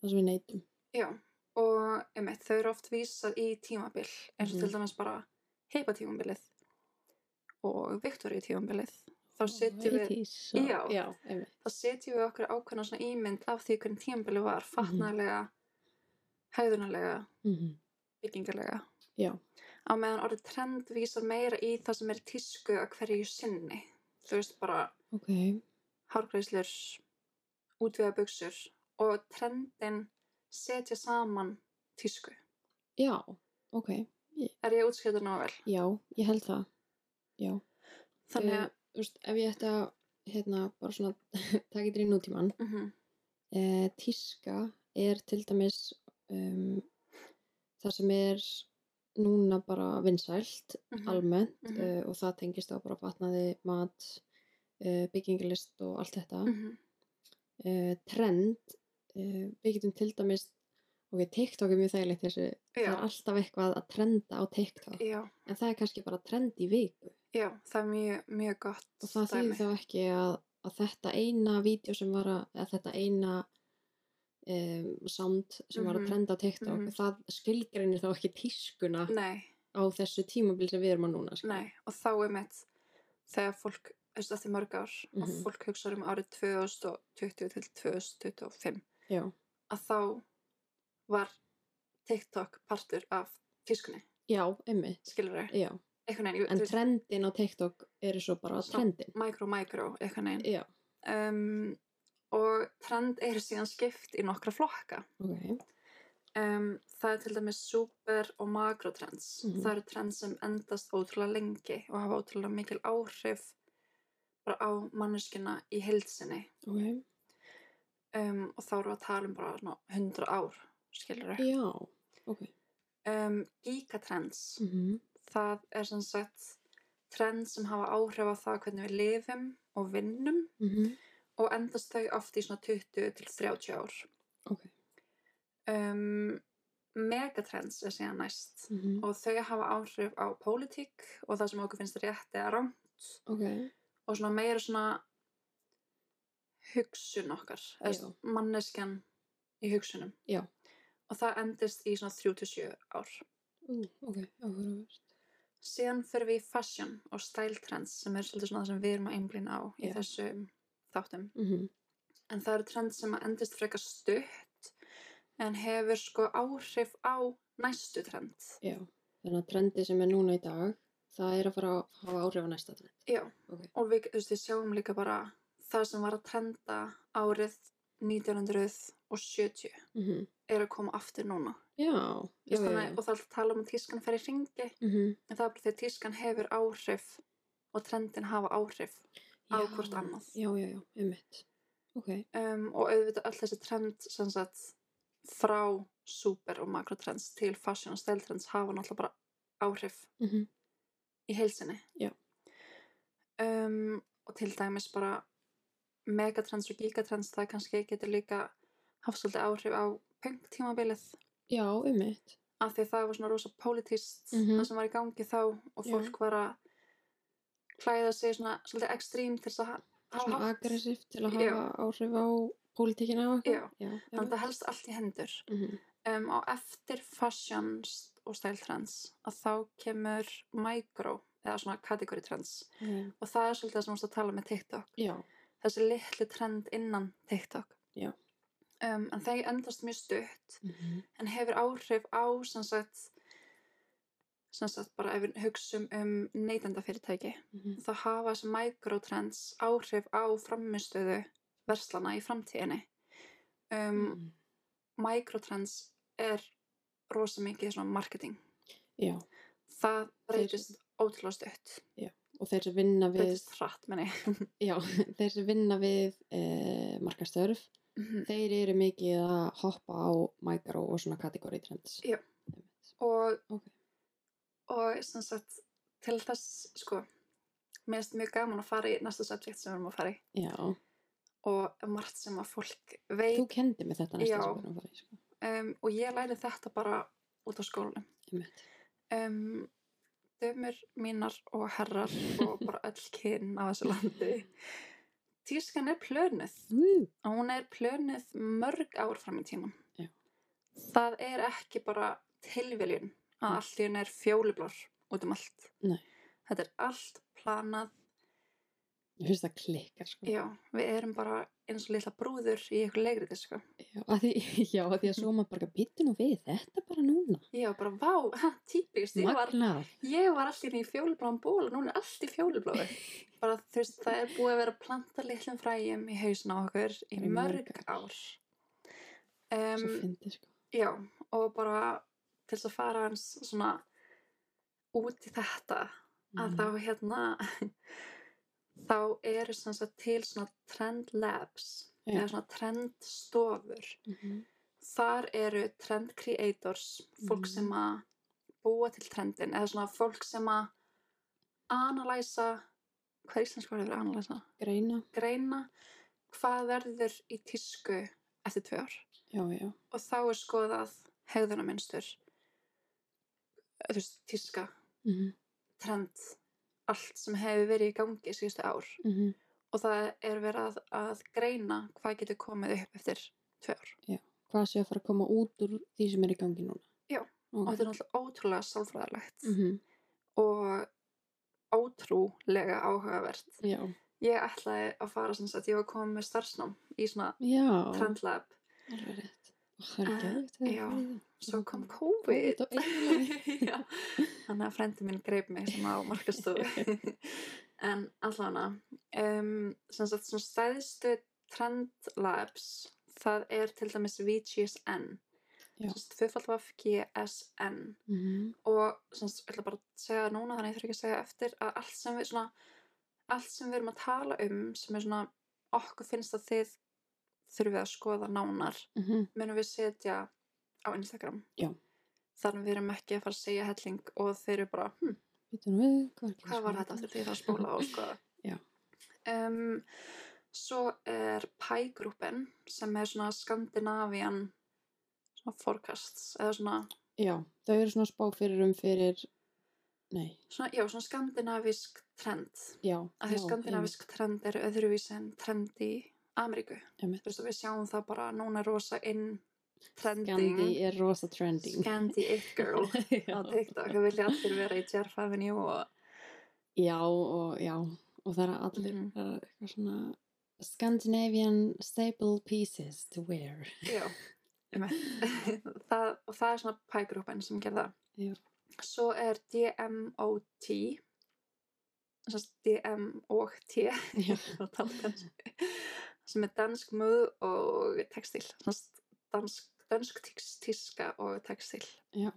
Speaker 2: það sem við neytum.
Speaker 1: já, og einmitt, þau eru oft vísað í tímabil, eins og
Speaker 2: Mhm.
Speaker 1: til dæmis bara heipa tímabilið og Viktoríu tímabilið. Þá
Speaker 2: Ó,
Speaker 1: setjum við
Speaker 2: 80s, svo-
Speaker 1: Já.
Speaker 2: Já, einmitt.
Speaker 1: þá setjum við okkur ákveðna svona ímynd af því hvernig tímabili var, fatnalega, hæðunarlega,
Speaker 2: Mhm.
Speaker 1: byggingalega.
Speaker 2: Já.
Speaker 1: Á meðan orðið trend vísar meira í það sem er í tísku að hverju sinni. þú veist bara
Speaker 2: ok,
Speaker 1: hárgreislur, útvíða buksur og trendin setja saman tísku.
Speaker 2: já, ok,
Speaker 1: Er ég útskjöta nóg vel?
Speaker 2: já, ég held það, já.
Speaker 1: Þannig að,
Speaker 2: Þú veist, ef ég ætti að, hérna, bara svona, <laughs> taka þetta í nútíman,
Speaker 1: mm
Speaker 2: e, tíska er til dæmis um, það sem er núna bara vinsælt, almennt,
Speaker 1: Mhm.
Speaker 2: e, og það tengist á bara batnaði, mat, e, byggingalist og allt þetta.
Speaker 1: Mhm.
Speaker 2: uh, trend uh, við getum til dæmis ok, TikTok er mjög þægilegt í þessu það er
Speaker 1: Já,
Speaker 2: alltaf eitthvað að trenda á TikTok
Speaker 1: já,
Speaker 2: en það er kannski bara trend í viku
Speaker 1: já, það er mjög, mjög gott.
Speaker 2: og það þýðir þá ekki að, að þetta eina vídeo sem var að, að þetta eina um, sound sem var
Speaker 1: Mhm,
Speaker 2: að trenda á TikTok
Speaker 1: mhm.
Speaker 2: það skilgreinir þá ekki tískuna
Speaker 1: Nei,
Speaker 2: á þessu tímabil sem við erum á núna skilur.
Speaker 1: nei, og þá er mitt þegar fólk, þú veist, eftir mörg ár og
Speaker 2: Mhm.
Speaker 1: fólk hugsa um árið 2020 til 2025
Speaker 2: Já,
Speaker 1: að þá var TikTok partur af tískunni,
Speaker 2: já, emmi
Speaker 1: skilur þau?
Speaker 2: já.
Speaker 1: Einhvern veginn, ég-
Speaker 2: en
Speaker 1: þú veist,
Speaker 2: trendin á TikTok eru svo bara
Speaker 1: Svona-
Speaker 2: trendin
Speaker 1: micro, micro, einhvern veginn.
Speaker 2: já,
Speaker 1: um, og trend er síðan skipt í nokkra flokka
Speaker 2: ok,
Speaker 1: um, það er til dæmis super og makro trends
Speaker 2: Mhm.
Speaker 1: það eru trends sem endast ótrúlega lengi og hafa ótrúlega mikil áhrif bara á manneskina í heilsinni
Speaker 2: ok
Speaker 1: um, og þá erum við að tala um bara svona, 100 ár skilur við
Speaker 2: já, ok
Speaker 1: um, gigatrends
Speaker 2: mm
Speaker 1: það er sem sagt trend sem hafa áhrif á það hvernig við lifum og vinnum
Speaker 2: Mhm.
Speaker 1: og endast þau oft í svona 20 til 30 ár
Speaker 2: ok
Speaker 1: um, megatrends er síðan næst
Speaker 2: Mhm.
Speaker 1: og þau hafa áhrif á pólitík og það sem okkur finnst rétt eða rám
Speaker 2: Ok,
Speaker 1: og svona meira svona hugsun okkar eða
Speaker 2: Já.
Speaker 1: svona manneskjan í hugsunum
Speaker 2: Já.
Speaker 1: og það endist í svona 37 ár
Speaker 2: ú, ok, áhugavert.
Speaker 1: síðan fyrir við í fashion og style trends sem er svolítið svona það sem við erum að einblýna á í
Speaker 2: Já.
Speaker 1: þessum þáttum
Speaker 2: Mm -hmm.
Speaker 1: en það eru trends sem að endist frekar stutt en hefur sko áhrif á næstu trend
Speaker 2: Já, þannig að trendi sem er núna í dag, það er að fara að hafa áhrif á næsta trend.
Speaker 1: Já,
Speaker 2: Ok.
Speaker 1: og við, þú veist, við sjáum líka bara það sem var að trenda árið 1970
Speaker 2: Mm -hmm.
Speaker 1: er að koma aftur núna.
Speaker 2: Já,
Speaker 1: Þú
Speaker 2: já,
Speaker 1: veist,
Speaker 2: já,
Speaker 1: Þannig,
Speaker 2: já.
Speaker 1: og það er alltaf að tala um að tískan fer í ringi,
Speaker 2: Mm -hmm.
Speaker 1: en það er bara þegar tískan hefur áhrif og trendin hafa áhrif á hvort annað.
Speaker 2: Já, já, já, einmitt. Ok,
Speaker 1: um, og auðvitað all þessi trend sem sagt frá super og makrotrends til fashion og style trends hafa náttúrulega bara áhrif
Speaker 2: mm -hmm.
Speaker 1: í heilsinni
Speaker 2: Já.
Speaker 1: um, og til dæmis bara megatrends og gigatrends það kannski getur líka haft svolítið áhrif á punk tímabilið
Speaker 2: já, einmitt.
Speaker 1: af því að það var svona rosa politist
Speaker 2: Mhm.
Speaker 1: það sem var í gangi þá og
Speaker 2: Já.
Speaker 1: fólk var að klæða sig svona svolítið ekstrím til þess að ha- hafa
Speaker 2: Svona
Speaker 1: hátt.
Speaker 2: aggressivt til að
Speaker 1: Já.
Speaker 2: hafa áhrif á pólitíkina og eitthvað.
Speaker 1: Já.
Speaker 2: já, já.
Speaker 1: þannig að það helst allt í hendur
Speaker 2: Mm -hmm.
Speaker 1: um, á eftir fashion og style trends að þá kemur micro eða svona category trends
Speaker 2: okay.
Speaker 1: og það er svolítið það sem þú varst að tala um með TikTok
Speaker 2: Já,
Speaker 1: þessi litlu trend innan TikTok
Speaker 2: Já.
Speaker 1: um, en það endast mjög stutt
Speaker 2: mm -hmm.
Speaker 1: en hefur áhrif á sem sagt sem sagt bara ef við hugsum um neytendafyrirtæki
Speaker 2: Mhm.
Speaker 1: þá hafa þessi microtrends áhrif á frammistöðu verslana í framtíðinni um, microtrends er rosa mikið svona marketing
Speaker 2: já.
Speaker 1: það breytist ótrúlega stutt
Speaker 2: Og þeir sem vinna við,
Speaker 1: breytist hratt menni
Speaker 2: já, <laughs> þeir sem vinna við eh, markastörf,
Speaker 1: Mhm.
Speaker 2: Þeir eru mikið að hoppa á micro og svona kategóri trends.
Speaker 1: Já. og
Speaker 2: Ok.
Speaker 1: og sem sagt til þess sko mér finnst mjög gaman að fara í næsta subject sem við erum að fara í
Speaker 2: Já.
Speaker 1: og margt sem að fólk
Speaker 2: Þú
Speaker 1: veit
Speaker 2: kendi mig þetta næsta
Speaker 1: Já.
Speaker 2: sem við erum að fara í, sko.
Speaker 1: um, og ég læri þetta bara út á skólanum
Speaker 2: Einmitt.
Speaker 1: um, dömur mínar og herrar og bara öll kyn á þessu landi tískan er plönuð
Speaker 2: Woo!
Speaker 1: og hún er plönuð mörg ár fram í tíman
Speaker 2: Já.
Speaker 1: það er ekki bara tilviljun að
Speaker 2: Mm.
Speaker 1: allt í hún er fjólublár út um allt
Speaker 2: Nei. Mm.
Speaker 1: þetta er allt planað
Speaker 2: Mér finnst það klikkar sko.
Speaker 1: Já, við erum bara eins og litla brúður í ykkur leikriti, sko.
Speaker 2: Já, að því, <laughs> já, að því að svo maður bara býttu nú við þetta bara núna.
Speaker 1: Ég var bara, vá, ha, típist, ég var,
Speaker 2: Magnað.
Speaker 1: ég var allir í fjólubláum ból og núna er allt í fjólubláu.
Speaker 2: <laughs>
Speaker 1: Bara, þú veist, það er búið að vera að planta litlum fræjum í hausin á okkur í
Speaker 2: Í mörg
Speaker 1: mörg
Speaker 2: ár.
Speaker 1: ár.
Speaker 2: Svo
Speaker 1: Um,
Speaker 2: fyndi sko.
Speaker 1: já, og bara til þess að fara hans svona út í þetta,
Speaker 2: Mm. Mhm,
Speaker 1: að þá hérna, <laughs> þá eru sem sagt til svona trend labs,
Speaker 2: Já.
Speaker 1: eða svona trendstofur.
Speaker 2: Mhm.
Speaker 1: þar eru trend creators, fólk
Speaker 2: Mhm.
Speaker 1: sem að búa til trendin, eða svona fólk sem að analæsa, hvað er íslensk orðið fyrir analæsa?
Speaker 2: Greina.
Speaker 1: Greina hvað verður í tísku eftir tvö ár
Speaker 2: Já, já.
Speaker 1: og þá er skoðað hegðunarmynstur, þú veist, tíska,
Speaker 2: Mhm.
Speaker 1: trend, allt sem hefur verið í gangi síðustu ár
Speaker 2: Mhm.
Speaker 1: og það er verið að, að greina hvað getur komið upp eftir tvö ár.
Speaker 2: Hvað sé að fara að koma út úr því sem er í gangi núna?
Speaker 1: Já, Og þetta er náttúrulega ótrúlega sálfræðarlegt.
Speaker 2: -hmm.
Speaker 1: og ótrúlega áhugavert.
Speaker 2: Já.
Speaker 1: Ég ætlaði að fara sem sagt, ég var komin með starfsnám í svona
Speaker 2: Já.
Speaker 1: trendlab,
Speaker 2: Alveg rétt. Ó, Það er
Speaker 1: Eh,
Speaker 2: ekki að
Speaker 1: já.
Speaker 2: þetta.
Speaker 1: svo kom COVID.
Speaker 2: og eiginlega.
Speaker 1: <laughs> Já, Þannig að frendi minn greip mig sem á markastofu. <laughs> en allavega, um, sem sagt, svona stæðstu trendlabs, það er til dæmis VGSN,
Speaker 2: Já.
Speaker 1: tvöfaldvafgSN.
Speaker 2: Mhm.
Speaker 1: og sem sagt, ég ætla bara að segja það núna þannig að ég þurfi ekki að segja það eftir að allt sem við svona allt sem við erum að tala um sem er svona okkur finnst að þið þurfið að skoða nánar
Speaker 2: Mhm.
Speaker 1: munum við setja á Instagram
Speaker 2: Já.
Speaker 1: þannig við erum ekki að fara að segja helling og þeir eru bara hm,
Speaker 2: Bíddu nú við, Hvað er ekki að
Speaker 1: hvað var
Speaker 2: skoða
Speaker 1: þetta aftur því það spóla og skoða
Speaker 2: <laughs> Já.
Speaker 1: um, svo er Pægrúpen sem er svona Skandinavian svona forecasts eða svona
Speaker 2: Já, þau eru svona spá fyrir um fyrir, nei,
Speaker 1: Svona, já, svona skandinavisk trend
Speaker 2: já.
Speaker 1: að því
Speaker 2: já,
Speaker 1: skandinavisk trend er öðruvísi en trend í Ameríku.
Speaker 2: Einmitt.
Speaker 1: Þú veist að við sjáum það bara núna er rosa inn
Speaker 2: einmitt.
Speaker 1: trending,
Speaker 2: Gandhi er rosa trending.
Speaker 1: Scandi it girl á
Speaker 2: <laughs> Já.
Speaker 1: TikTok, það vilja allir vera í Jerf Avenue og
Speaker 2: já, og já, og það er allir,
Speaker 1: Mhm.
Speaker 2: það er eitthvað svona Scandinavian staple pieces to wear.
Speaker 1: já, einmitt. <laughs> það, og það er svona pægrúpen sem gerða.
Speaker 2: Já.
Speaker 1: Svo er DMOT, sem sagt DM og T, <laughs>
Speaker 2: Já,
Speaker 1: og tala dansku sem er dansk möð og textil dansk, dansk tíks- tíska og textil
Speaker 2: Já.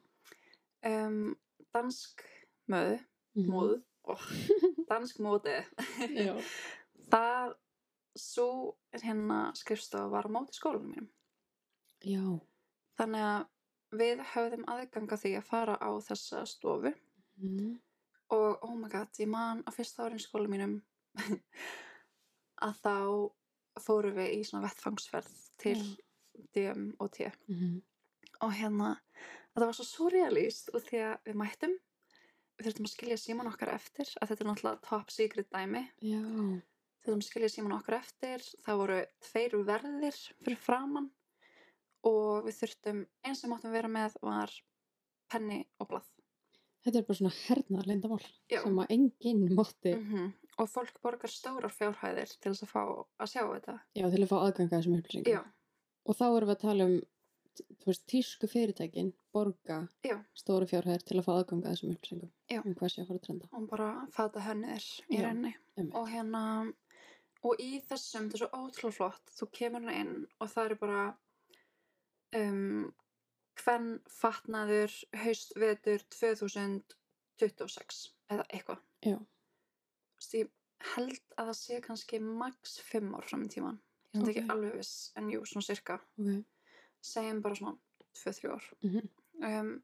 Speaker 1: um, dansk möð
Speaker 2: <laughs> Mhm.
Speaker 1: móð
Speaker 2: <laughs>
Speaker 1: oh, dansk móði
Speaker 2: Já,
Speaker 1: <laughs> það svo er hérna skrifstofa var á móti skólanum mínum
Speaker 2: já,
Speaker 1: þannig að við höfðum aðganga því að fara á þessa stofu
Speaker 2: Mhm.
Speaker 1: og oh my god, ég man á fyrsta árin skóla mínum <laughs> að þá fórum við í svona vettfangsferð til DM og T
Speaker 2: Mhm.
Speaker 1: og hérna, þetta var svo surrealist og því að við mættum við þurftum að skilja síman okkar eftir að þetta er náttúrulega top secret dæmi
Speaker 2: já,
Speaker 1: þurftum að skilja síman okkar eftir það voru tveir verðir fyrir framann og við þurftum eins sem máttum vera með var penni og blað
Speaker 2: þetta er bara svona hernaðar lindamál
Speaker 1: Já.
Speaker 2: sem að enginn mátti,
Speaker 1: mm og fólk borgar stórar fjárhæðir til þess að fá að sjá þetta
Speaker 2: já, til að fá aðganga að þessum upplýsingum.
Speaker 1: já,
Speaker 2: Og þá erum við að tala um t- þú veist, tísku fyrirtækin borga
Speaker 1: Já.
Speaker 2: stóru fjárhæðir til að fá aðganga að þessum upplýsingum
Speaker 1: Já.
Speaker 2: um hvað sé að fara að trenda.
Speaker 1: og bara fata hönnir í
Speaker 2: Já,
Speaker 1: rauninni
Speaker 2: einmitt.
Speaker 1: og hérna og í þessum, þetta er svo ótrúlega flott þú kemur hérna inn og það eru bara um hvern fatnaður haust vetur 2026 eða eitthvað
Speaker 2: Já.
Speaker 1: Þú veist, ég held að það sé kannski max 5 ár fram í tíman ég er okay. ekki
Speaker 2: Ok.
Speaker 1: alveg viss en jú, svona cirka
Speaker 2: Okay.
Speaker 1: segjum bara svona 2-3 ár
Speaker 2: Mhm.
Speaker 1: um,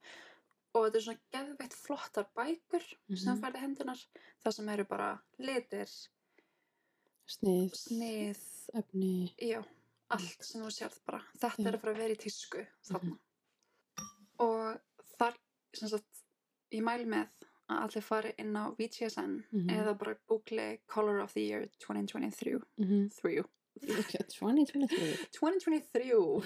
Speaker 1: og þetta er svona geðveitt flottar bækur sem
Speaker 2: Mhm.
Speaker 1: færði hendunar það sem eru bara litir,
Speaker 2: Snið,
Speaker 1: snið
Speaker 2: efni,
Speaker 1: já, allt sem þú sérð bara þetta
Speaker 2: Já. Mhm.
Speaker 1: er að fara að vera í tísku þarna og þar sem sagt, ég mæl með að allir fari inn á VGSN
Speaker 2: Mhm.
Speaker 1: eða bara google Color of the Year 2023
Speaker 2: mm -hmm.
Speaker 1: 3.
Speaker 2: 2023,
Speaker 1: 2023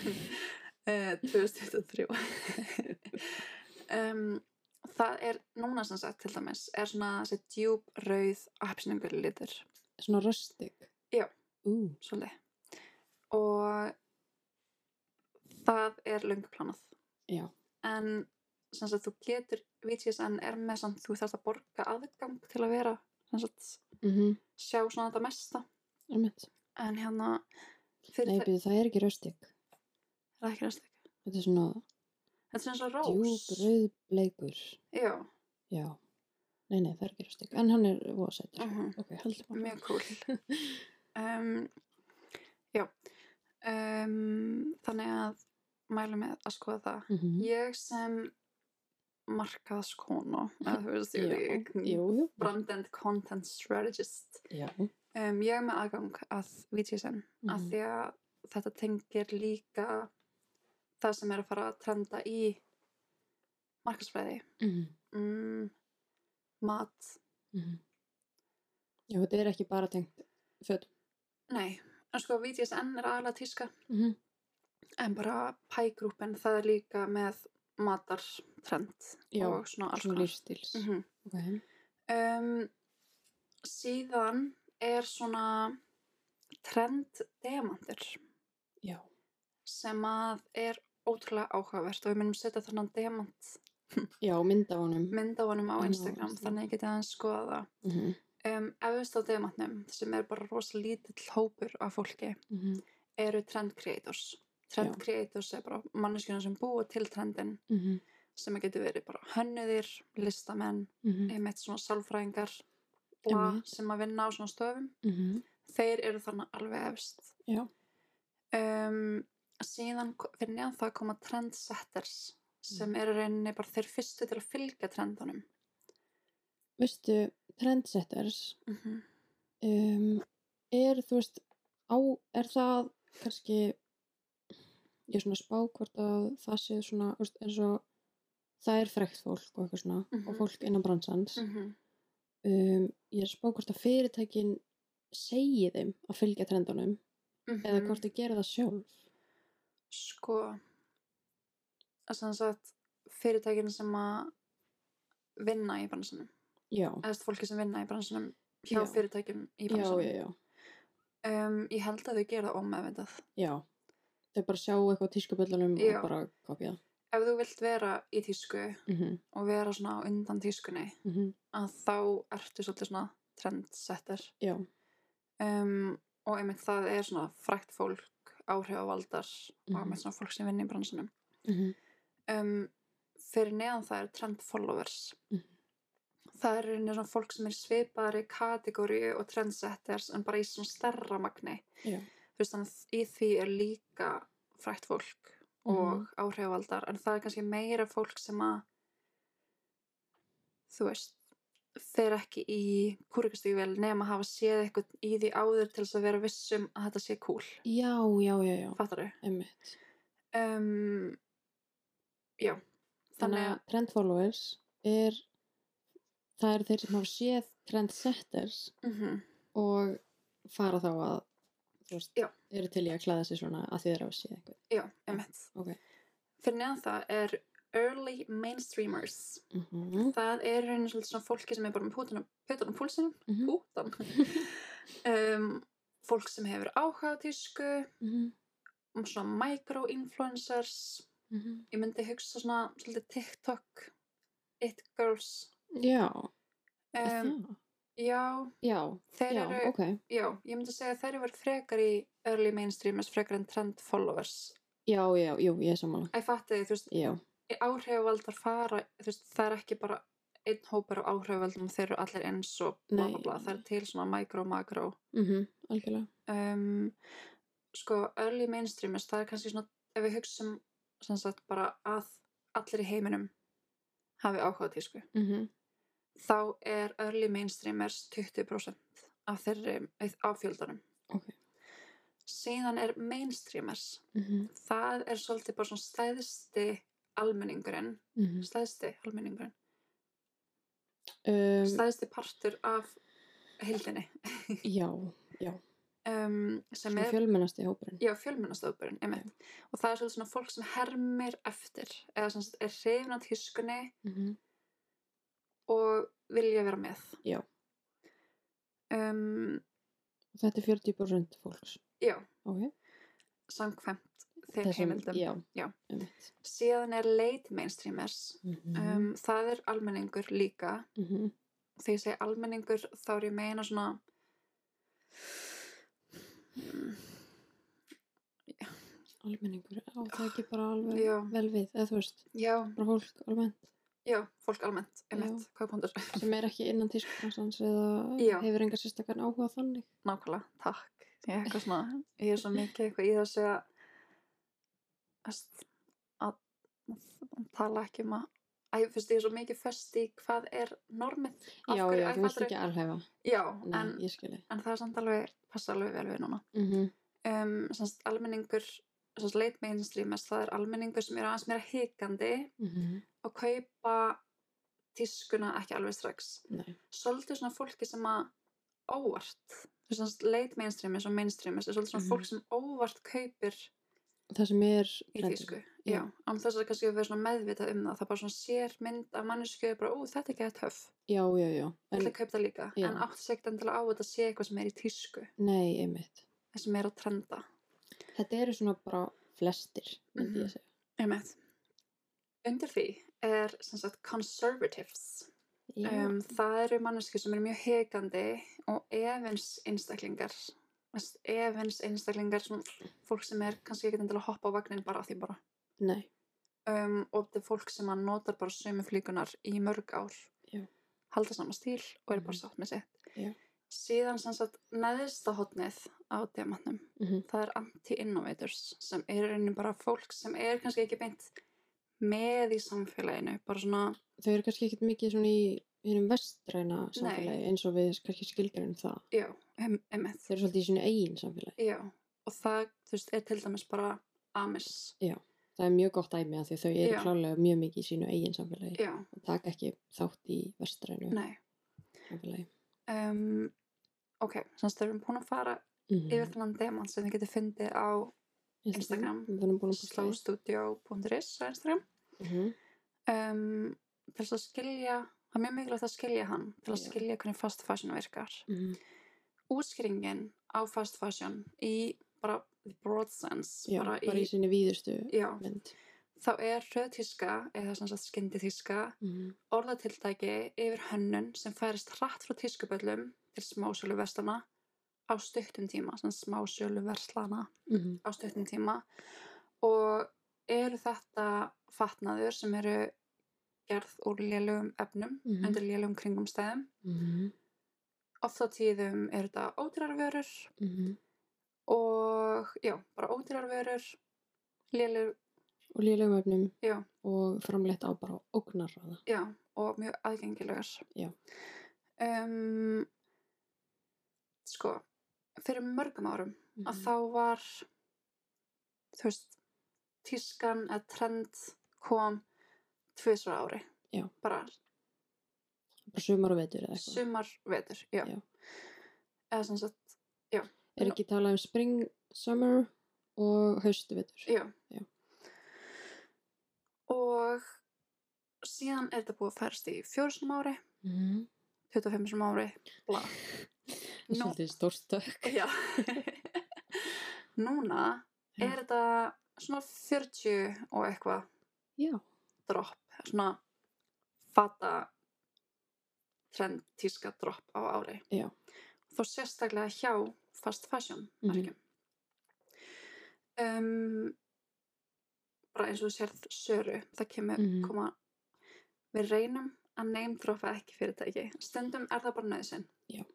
Speaker 1: eh, 2023 <laughs> um, það er núna sem sagt til dæmis er svona þessi djúp rauð apsningul litur
Speaker 2: svona röstig?
Speaker 1: Já.
Speaker 2: Ú,
Speaker 1: svolítið. Og það er löngu planað.
Speaker 2: já,
Speaker 1: En sem sagt þú getur, VGSN er með samt þú þarfst að borga aðgang til að vera, sem sagt,
Speaker 2: mhm,
Speaker 1: sjá svona þetta mesta.
Speaker 2: er mitt.
Speaker 1: En hérna, fyrir
Speaker 2: Nei,
Speaker 1: það,
Speaker 2: byrju, það er ekki röstig.
Speaker 1: það er ekki næst ekki.
Speaker 2: Þetta er svona
Speaker 1: Þetta er sem sagt rós.
Speaker 2: djúb rauðbleikur.
Speaker 1: Já,
Speaker 2: Já. Nei, nei, það er ekki röstig. En hann er vóðsættur.
Speaker 1: uh
Speaker 2: Ok, haldum <laughs>
Speaker 1: mjög cool. Um, já, um, þannig að mælum með að skoða það.
Speaker 2: Mm -hmm.
Speaker 1: Ég sem markaðskona,
Speaker 2: <laughs>
Speaker 1: eða þú veist, ég er
Speaker 2: Jú, jú.
Speaker 1: brand and content strategist.
Speaker 2: Já.
Speaker 1: Um, ég er með aðgang að VTSN af
Speaker 2: Mhm.
Speaker 1: því að þetta tengir líka það sem er að fara að trenda í markaðsfræði,
Speaker 2: Mm
Speaker 1: mm, mat,
Speaker 2: -hmm. Já, þetta er ekki bara tengt fötum.
Speaker 1: nei, en sko VTSN er aðalega tíska
Speaker 2: Mm -hmm.
Speaker 1: en bara pægrúpen það er líka með matartrend
Speaker 2: Já,
Speaker 1: og svona alls
Speaker 2: Svona
Speaker 1: konar.
Speaker 2: lífstíls.
Speaker 1: Mm
Speaker 2: Ok.
Speaker 1: um, síðan er svona trend demandir
Speaker 2: Já.
Speaker 1: sem að er ótrúlega áhugavert og við munum setja þannig demant
Speaker 2: Já, mynd af honum.
Speaker 1: mynd á honum á
Speaker 2: Inn á
Speaker 1: Instagram
Speaker 2: Instagram.
Speaker 1: þannig að ég geti aðeins skoða það
Speaker 2: Mm -hmm.
Speaker 1: um, efust á demantnum sem er bara rosa lítill hópur af fólki
Speaker 2: Mm -hmm.
Speaker 1: eru trend creators trend
Speaker 2: Já.
Speaker 1: creators er bara manneskjuna sem búa til trendin
Speaker 2: Mm -hmm.
Speaker 1: sem að getur verið bara hönnuðir, listamenn
Speaker 2: Mhm.
Speaker 1: einmitt svona sálfræðingar og
Speaker 2: Mm. Einmitt.
Speaker 1: sem að vinna á svona stöfum
Speaker 2: Mhm.
Speaker 1: þeir eru þannig alveg efst
Speaker 2: Já.
Speaker 1: um, síðan ko- fyrir neðan það koma trendsetters
Speaker 2: Mm.
Speaker 1: sem eru rauninni bara þeir fyrstu til að fylgja trendunum
Speaker 2: Veistu, trendsetters
Speaker 1: mm
Speaker 2: Mhm.
Speaker 1: -hmm.
Speaker 2: um, er, þú veist, á, er það kannski ég er svona að spá hvort að það sé svona, þú veist, eins og það er frekt fólk og eitthvað svona
Speaker 1: Mhm.
Speaker 2: og fólk innan bransans um, ég er að spá hvort að fyrirtækin segi þeim að fylgja trendunum eða hvort þau gera það sjálf
Speaker 1: Mhm. sko að sem sagt fyrirtækinu sem að vinna í bransunum
Speaker 2: já,
Speaker 1: eða þú veist, fólki sem vinna í bransunum hjá
Speaker 2: Já.
Speaker 1: fyrirtækjum í
Speaker 2: já,
Speaker 1: bransunum
Speaker 2: já, já,
Speaker 1: Um, ég held að þau gera það ómeðvendað
Speaker 2: já þau bara sjá eitthvað á tískuböllunum og
Speaker 1: Já.
Speaker 2: bara kopja það
Speaker 1: ef þú vilt vera í tísku
Speaker 2: mm -hmm.
Speaker 1: og vera svona á undan tískunni
Speaker 2: Mm -hmm.
Speaker 1: að þá ertu svolítið svona trendsetter
Speaker 2: já,
Speaker 1: um, og einmitt það er svona frækt fólk, áhrifavaldar og einmitt svona fólk sem vinni í bransunum
Speaker 2: mm
Speaker 1: um, fyrir neðan það eru trend followers
Speaker 2: Mhm.
Speaker 1: það eru neðan svona fólk sem er svipaðar í kategóri og trendsetters en bara í svona stærra magni
Speaker 2: Já.
Speaker 1: þú veist þannig að í því er líka frækt fólk
Speaker 2: Mhm.
Speaker 1: og áhrifavaldar en það er kannski meira fólk sem að þú veist fer ekki í kúrikastíkvel nema hafa séð eitthvað í því áður til þess að vera vissum að þetta sé cool
Speaker 2: já, já, já, já
Speaker 1: fattar þau?
Speaker 2: einmitt
Speaker 1: Um, já
Speaker 2: Þannig að trend followers er það eru þeir sem hafa séð trendsetters
Speaker 1: mm
Speaker 2: og fara þá að þú veist,
Speaker 1: Já.
Speaker 2: eru til í að klæða sig svona að því þeir hafa séð einhvern.
Speaker 1: já, emmett
Speaker 2: Ok.
Speaker 1: fyrir neðan það er early mainstreamers
Speaker 2: Mm -hmm.
Speaker 1: það er raunin svolítið svona fólki sem er bara með pútan pútan á púlsinum
Speaker 2: Mhm.
Speaker 1: pútan
Speaker 2: <laughs>
Speaker 1: um, fólk sem hefur áhuga á tísku
Speaker 2: Mm -hmm.
Speaker 1: um svona micro-influencers
Speaker 2: Mm -hmm.
Speaker 1: ég myndi hugsa svona svolítið TikTok it girls
Speaker 2: Já, er
Speaker 1: um,
Speaker 2: það?
Speaker 1: já,
Speaker 2: Já,
Speaker 1: þeir
Speaker 2: já,
Speaker 1: eru
Speaker 2: ok.
Speaker 1: já, ég myndi segja að þeir eru verið frekar í early mainstreamers, frekar en trend followers
Speaker 2: Já, já, jú, ég er sammála.
Speaker 1: ég fatti því, þú veist,
Speaker 2: Já,
Speaker 1: áhrifavaldar fara þú veist, það er ekki bara einn hópur á áhrifavaldum, þeir eru allir eins og bla bla
Speaker 2: Nei.
Speaker 1: bla, það er til svona micro-macro
Speaker 2: mm algjörlega.
Speaker 1: um, sko, early mainstreamers það er kannski svona, ef við hugsum sem sagt bara að allir í heiminum hafi áhuga á tísku
Speaker 2: Mm
Speaker 1: þá er early mainstreamers 20% af þeirri af fjöldanum
Speaker 2: Ok.
Speaker 1: síðan er mainstreamers
Speaker 2: Mm -hmm.
Speaker 1: það er svolítið bara svona stæðsti almenningurinn stæðsti almenningurinn
Speaker 2: um,
Speaker 1: stæðsti partur af heildinni
Speaker 2: já,
Speaker 1: um, sem
Speaker 2: svona
Speaker 1: er
Speaker 2: fjölmennasti hópurinn.
Speaker 1: Já, fjölmennastöðbörun, ég meint. Og það er svolítið svona fólk sem hermir eftir eða sem sagt er hrifin á tískunni
Speaker 2: Mm -hmm.
Speaker 1: og vilja vera með.
Speaker 2: Já.
Speaker 1: Um,
Speaker 2: Og þetta er 40% fólks.
Speaker 1: Já,
Speaker 2: Ok.
Speaker 1: samkvæmt þeim heimildum.
Speaker 2: Já.
Speaker 1: Já.
Speaker 2: einmitt.
Speaker 1: Síðan er leit mainstreamers.
Speaker 2: Mhm,
Speaker 1: Um, það er almenningur líka.
Speaker 2: mhm.
Speaker 1: Þegar ég segi almenningur þá er ég að meina svona... Mm,
Speaker 2: Almenningur, á það ekki bara alveg
Speaker 1: Já.
Speaker 2: vel við, eða þú veist,
Speaker 1: Já,
Speaker 2: bara fólk almennt
Speaker 1: já, fólk almennt, einmitt,
Speaker 2: Já.
Speaker 1: hvað punktur?
Speaker 2: sem er ekki innan tískbransans eða
Speaker 1: Já.
Speaker 2: hefur engar sérstakarn áhuga á þannig.
Speaker 1: nákvæmlega, takk ég er eitthvað svona, ég
Speaker 2: <laughs>
Speaker 1: er svo mikið eitthvað í þessu að að- að að tala ekki um að Æ, fyrst, ég er svo mikið fest í hvað er normið Af
Speaker 2: Já,
Speaker 1: hverju-
Speaker 2: já,
Speaker 1: æ,
Speaker 2: þú vilt
Speaker 1: fattarðu?
Speaker 2: ekki alhæfa.
Speaker 1: já
Speaker 2: Nei,
Speaker 1: en,
Speaker 2: ég skilji.
Speaker 1: en það er samt alveg passa alveg vel við núna
Speaker 2: Mm
Speaker 1: um, semst, almenningur semst, leit mainstreamers, það er almenningur sem er aðeins meira hikandi og kaupa tískuna ekki alveg strax
Speaker 2: Nei.
Speaker 1: svolítið svona fólki sem að óvart þú veist, svona leit mainstreamis og mainstreamis er svolítið svona
Speaker 2: Mhm.
Speaker 1: fólk sem óvart kaupir
Speaker 2: Það sem er...
Speaker 1: í
Speaker 2: trendið.
Speaker 1: tísku
Speaker 2: já.
Speaker 1: já, án þess að kannski að vera svona meðvitað um það það bara svona sér mynd af mannesku bara, ó, þetta er ekki að töff,
Speaker 2: Já, já, já.
Speaker 1: ég
Speaker 2: En,
Speaker 1: ætla að kaupa það líka
Speaker 2: Já.
Speaker 1: en átt segt endilega á að þetta sé eitthvað sem er í tísku
Speaker 2: nei, einmitt.
Speaker 1: það sem er að trenda
Speaker 2: Þetta eru svona bara flestir, myndi ég
Speaker 1: Mhm.
Speaker 2: segja.
Speaker 1: Einmitt. undir því er sem sagt conservatives
Speaker 2: Já.
Speaker 1: um, það eru mannesku sem eru mjög hegandi og efins einstaklingar Þess- efins einstaklingar sem fólk sem er kannski ekki til að hoppa á vagnin bara af því bara
Speaker 2: nei.
Speaker 1: um, og þetta er fólk sem að notar bara sömu flíkunar í mörg ár
Speaker 2: Já.
Speaker 1: halda sama stíl og er bara
Speaker 2: Mhm.
Speaker 1: sátt með sitt
Speaker 2: Já.
Speaker 1: síðan sem sagt neðsta hotnið á demannum
Speaker 2: Mhm.
Speaker 1: það er anti-innovators sem er raunin bara fólk sem er kannski ekki beint með í samfélaginu bara svona,
Speaker 2: Þau eru kannski ekkit mikið svona í hinum vestræna samfélagi eins og við kannski skilgrunum það.
Speaker 1: já, em- emmitt
Speaker 2: Þau eru svolítið í sínu eigin samfélagi.
Speaker 1: Já, og það, þú veist, er til dæmis bara Amis.
Speaker 2: Það er mjög gott æmi að því að þau eru
Speaker 1: Já.
Speaker 2: klálega mjög mikið í sínu eigin samfélagi
Speaker 1: Já,
Speaker 2: og taka ekki þátt í vestrænu
Speaker 1: nei.
Speaker 2: samfélagi.
Speaker 1: Um, ok, þannig að við erum búin að fara
Speaker 2: Mhm.
Speaker 1: yfir þannan demant sem þið getur fundið á Instagram.
Speaker 2: Við erum búin að Mhm. búin að
Speaker 1: slowstudio.is á Instagram.
Speaker 2: búin.
Speaker 1: Um, til þess að skilja, það er mjög mikilvægt að skilja hann, til að
Speaker 2: Já.
Speaker 1: skilja hvernig fast fashion virkar.
Speaker 2: Mhm.
Speaker 1: Útskýringin á fast fashion í bara the broad sense,
Speaker 2: Já,
Speaker 1: bara,
Speaker 2: bara í sinni víðustu
Speaker 1: já,
Speaker 2: mynd.
Speaker 1: þá er röð tíska, eða sem sagt skyndi tíska,
Speaker 2: Mhm.
Speaker 1: orðatiltæki yfir hönnun sem færist hratt frá tískuböllum til smásölu verslana á stuttum tíma, sem smásölu verslana
Speaker 2: Mhm.
Speaker 1: á stuttum tíma og eru þetta fatnaður sem eru gerð úr lélugum efnum
Speaker 2: Mhm.
Speaker 1: undir lélugum kringumstæðum
Speaker 2: Mhm.
Speaker 1: oft á tíðum eru þetta ódýrarvörur
Speaker 2: Mhm.
Speaker 1: og já, bara ódýrarvörur lélug,
Speaker 2: Og lélegum öfnum
Speaker 1: já,
Speaker 2: og framleitt á bara ógnarraða.
Speaker 1: Já, og mjög aðgengilegar.
Speaker 2: Já.
Speaker 1: Um, sko, fyrir mörgum árum að
Speaker 2: Mhm.
Speaker 1: þá var, þú veist, tískan eða trend kom tvisvar á ári.
Speaker 2: Já.
Speaker 1: Bara
Speaker 2: Bara sumar og vetur eða eitthvað.
Speaker 1: sumar, vetur, já.
Speaker 2: Já.
Speaker 1: Eða sem sagt,
Speaker 2: Er ekki talað um spring, summer og haustu vetur.
Speaker 1: já.
Speaker 2: Já.
Speaker 1: Og síðan er þetta búið að færast í fjórsum ári,
Speaker 2: Mhm.
Speaker 1: 25 sem ári, bla.
Speaker 2: Það er
Speaker 1: Nú-
Speaker 2: svolítið stórstök.
Speaker 1: Já. <laughs> Núna
Speaker 2: Já.
Speaker 1: er þetta svona 40 og eitthvað
Speaker 2: Já.
Speaker 1: dropp, svona fata trend tíska dropp á ári.
Speaker 2: Já.
Speaker 1: Þó sérstaklega hjá fast fashion
Speaker 2: Mhm.
Speaker 1: markjum. Um, bara eins og þú sérð söru, það kemur
Speaker 2: Mhm.
Speaker 1: koma við reynum að neymdropa ekki fyrirtæki. Stundum er það bara nöðsinn.
Speaker 2: Já.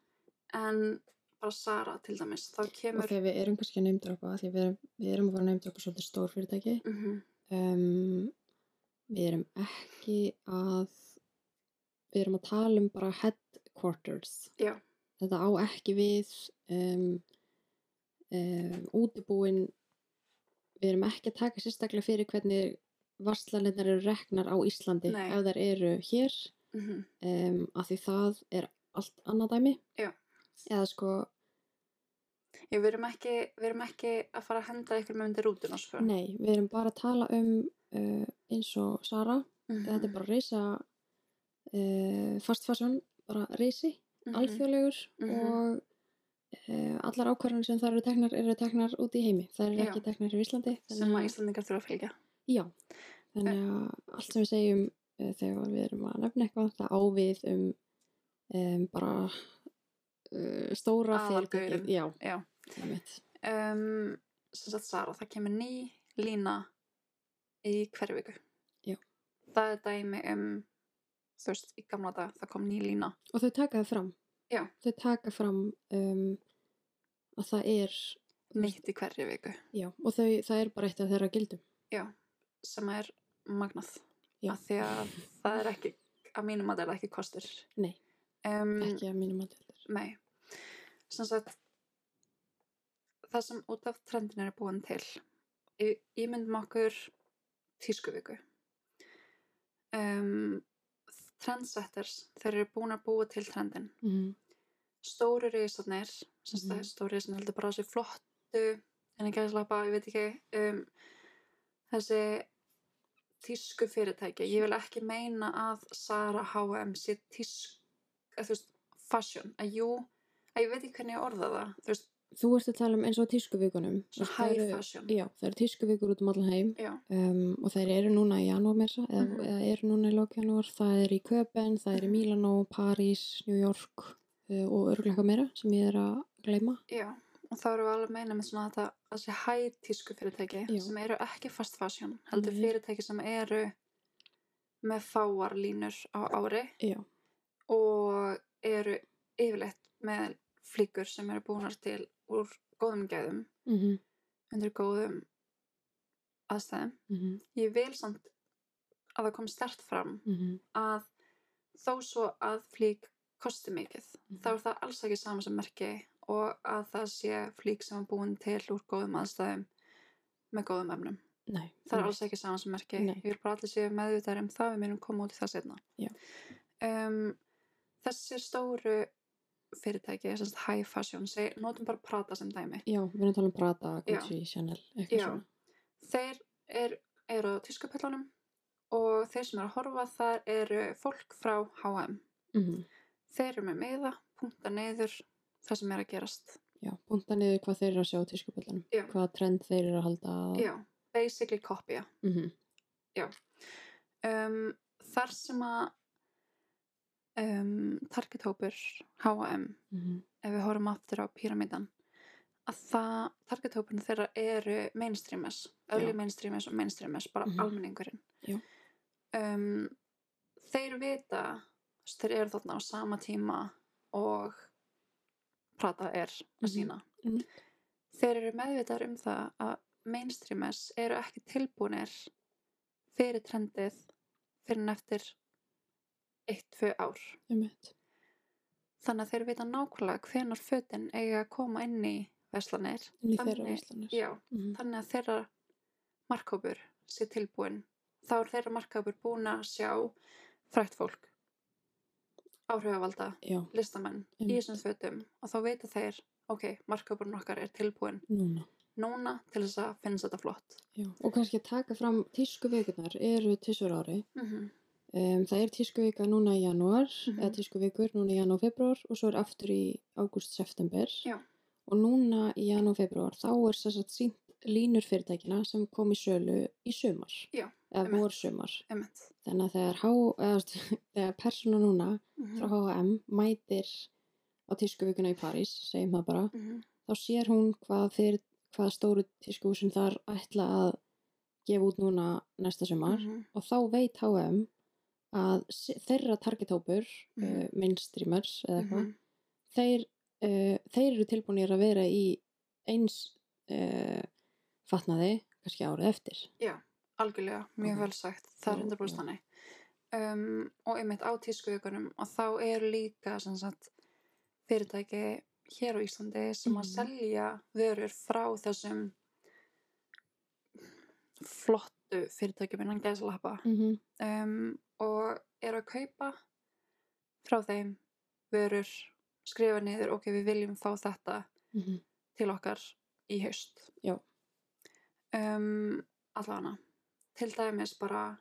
Speaker 1: En bara Sara til dæmis, þá
Speaker 2: Og
Speaker 1: kemur
Speaker 2: þegar við erum kannski að neymdrapa, því að við erum, við erum að fara að neymdrapa svolítið stór fyrirtæki.
Speaker 1: Mhm,
Speaker 2: Um, við erum ekki að, við erum að tala um bara headquarters.
Speaker 1: Já.
Speaker 2: Þetta á ekki við um, um, útibúin, við erum ekki að taka sérstaklega fyrir hvernig varslanirnar eru reknar á Íslandi
Speaker 1: Nei.
Speaker 2: ef þær eru hér,
Speaker 1: mhm,
Speaker 2: um, af því það er allt annað dæmi.
Speaker 1: Já.
Speaker 2: Eða sko,
Speaker 1: Já, við erum ekki, við erum ekki að fara að henda ykkur með undir rútuna, sko.
Speaker 2: nei, við erum bara að tala um uh, eins og Sara,
Speaker 1: Mhm,
Speaker 2: þetta er bara reysa uh, fast fashion, bara reysi,
Speaker 1: Mhm,
Speaker 2: alþjóðlegur
Speaker 1: Mhm.
Speaker 2: og uh, allar ákvarðanir sem þar eru teknar eru teknar út í heimi. Það eru
Speaker 1: Já.
Speaker 2: ekki teknar í Íslandi.
Speaker 1: sem að Íslandingar þurfa að fylgja.
Speaker 2: Já, þannig að allt sem við segjum uh, þegar við erum að nefna eitthvað, það ávið um, um bara uh, stóra
Speaker 1: Aðalgaurinn.
Speaker 2: fyrirtækið. Já,
Speaker 1: Já.
Speaker 2: það mitt.
Speaker 1: Um, sem sagt Sara, það kemur ný lína í hverju viku.
Speaker 2: Já.
Speaker 1: Það er dæmi um, þú veist, í gamla dag það kom ný lína.
Speaker 2: Og þau taka það fram.
Speaker 1: Já.
Speaker 2: Þau taka fram um, að það er, Þú veist-
Speaker 1: Nýtt í hverju viku.
Speaker 2: já, og þau, það er bara eitt af þeirra gildum.
Speaker 1: sem er magnað.
Speaker 2: Já.
Speaker 1: Af því að það er ekki, að mínum að það er ekki kostur.
Speaker 2: Nei.
Speaker 1: Um,
Speaker 2: Ekki að mínum að þetta.
Speaker 1: Nei. Sem sagt, það sem út af trendin er búin til. Í- Ímyndum okkur tískuviku. Um, trendsetters, þeir eru búin að búa til trendin.
Speaker 2: Mm
Speaker 1: Stóri reisarnir, sem sagt,
Speaker 2: Mhm.
Speaker 1: það er stóri reisarnir heldur bara á sig flottu, en ekki að slappa, ég veit ekki, um, þessi tísku fyrirtæki. Ég vil ekki meina að Sara H&M sé tísk, að þú veist, fashion, að jú, að ég veit ekki hvernig ég orða það, þú veist,
Speaker 2: Þú ert að tala um eins og tískuvíkunum.
Speaker 1: svona high fashion.
Speaker 2: Já, það eru tískuvíkur út um allan heim.
Speaker 1: Já,
Speaker 2: um, og þeir eru núna í janúar með þessa,
Speaker 1: Mhm.
Speaker 2: eða, eða eru núna í lókjanúar, það er í Köpen, það er í
Speaker 1: Mhm.
Speaker 2: Mílanó, París, New York uh, og örgleika meira sem ég er að gleyma.
Speaker 1: já, og þá erum við alveg að meina með svona þetta, þessi high tísku fyrirtæki
Speaker 2: Já.
Speaker 1: sem eru ekki fast fashion, heldur
Speaker 2: Nei.
Speaker 1: fyrirtæki sem eru með fáar línur á ári
Speaker 2: Já,
Speaker 1: og eru yfirleitt með flíkur sem eru búnar til úr góðum gæðum,
Speaker 2: mm
Speaker 1: Mhm.
Speaker 2: -hmm.
Speaker 1: undir góðum aðstæðum.
Speaker 2: Mhm.
Speaker 1: Ég vil samt að það kom stert fram
Speaker 2: Mhm.
Speaker 1: að þó svo að flík kosti mikið,
Speaker 2: Mhm.
Speaker 1: þá er það alls ekki sama sem merki og að það sé flík sem er búin til úr góðum aðstæðum með góðum efnum.
Speaker 2: nei.
Speaker 1: Það er alls ekki saman sem merki.
Speaker 2: Nei.
Speaker 1: Ég vil bara allir séu meðvitaðar um það við munum koma út í það setna.
Speaker 2: Já.
Speaker 1: Um, þessir stóru fyrirtæki, þessast high fashion, seg, notum bara prata sem dæmi.
Speaker 2: Já, við erum að tala um Prada,
Speaker 1: Já.
Speaker 2: Gucci, Chanel, eitthvað
Speaker 1: Já.
Speaker 2: svona.
Speaker 1: Þeir er, eru á tískupöllunum og þeir sem eru að horfa þar eru fólk frá H&M.
Speaker 2: Mm
Speaker 1: Þeir eru með meða, punta neyður, það sem er að gerast.
Speaker 2: Já, búnda niður hvað þeir eru að sjá á tískupöldunum,
Speaker 1: Já.
Speaker 2: hvaða trend þeir eru að halda.
Speaker 1: Já, basically copya.
Speaker 2: Mm
Speaker 1: um, þar sem að um, targethópur H&M,
Speaker 2: Mhm.
Speaker 1: ef við horfum aftur á píramítan að það, targethópurinn þeirra eru mainstreamers, early
Speaker 2: Já.
Speaker 1: mainstreamers og mainstreamers, bara
Speaker 2: Mhm.
Speaker 1: almenningurinn
Speaker 2: Já.
Speaker 1: um, þeir vita þú veist, þeir eru þarna á sama tíma og prata er
Speaker 2: Mhm.
Speaker 1: að sína
Speaker 2: Mhm.
Speaker 1: þeir eru meðvitaður um það að mainstreamers eru ekki tilbúinir fyrir trendið fyrir en eftir 1-2 ár þannig að þeir vita nákvæmlega hvenar fötin eiga að koma inn í verslanir
Speaker 2: Í þeirra
Speaker 1: Þannig-
Speaker 2: veistlanir.
Speaker 1: já,
Speaker 2: Mhm.
Speaker 1: þannig að þeirra markhópur sé tilbúin þá er þeirra markhópur búin að sjá frækt fólk áhrifavalda,
Speaker 2: Já,
Speaker 1: listamenn í
Speaker 2: Einmitt.
Speaker 1: þessum fötum og þá vita þeir ok, markhópurinn okkar er tilbúin
Speaker 2: núna.
Speaker 1: núna til þess að finnst þetta flott
Speaker 2: Já. Og kannski að taka fram tískuvikunar eru tísur ári.
Speaker 1: mm
Speaker 2: Um, það er tískuvika núna í janúar,
Speaker 1: Mhm.
Speaker 2: eða tískuvikur núna í janúar og februar og svo er aftur í ágúst-september.
Speaker 1: Já.
Speaker 2: Og núna í janúar og februar þá er sér satt sínt línur fyrirtækina sem kom í sölu í sumar.
Speaker 1: Já,
Speaker 2: Eða
Speaker 1: einmitt.
Speaker 2: vor sumar.
Speaker 1: einmitt
Speaker 2: Þannig að þegar, H, eða, <laughs> þú veist, þegar persóna núna frá
Speaker 1: Mhm,
Speaker 2: H&M mætir á tískuvikuna í París, segjum það bara,
Speaker 1: mhm,
Speaker 2: þá sér hún hvað, fyrir, hvað stóru tískuhúsin þar ætla að gefa út núna næsta sumar
Speaker 1: mhm,
Speaker 2: og þá veit H&M að se- þeirra targethópur mm
Speaker 1: Mhm.
Speaker 2: -hmm. uh, mainstreamers eða eitthvað
Speaker 1: mhm,
Speaker 2: þeir, uh, þeir eru tilbúinir að vera í eins uh, fatnaði kannski árið eftir
Speaker 1: algjörlega, mjög
Speaker 2: Ok.
Speaker 1: vel sagt það er
Speaker 2: Já,
Speaker 1: 100%
Speaker 2: já.
Speaker 1: þannig um, og einmitt á tískuvikunum og þá eru líka sem sagt, fyrirtæki hér á Íslandi sem að
Speaker 2: Mhm.
Speaker 1: selja vörur frá þessum flottu fyrirtækjum innan gæslappa
Speaker 2: mm -hmm.
Speaker 1: um, og eru að kaupa frá þeim vörur skrifa niður, ok, við viljum fá þetta
Speaker 2: Mm
Speaker 1: Mhm.
Speaker 2: -hmm.
Speaker 1: til okkar í haust
Speaker 2: Já.
Speaker 1: um, Allana Til dæmis bara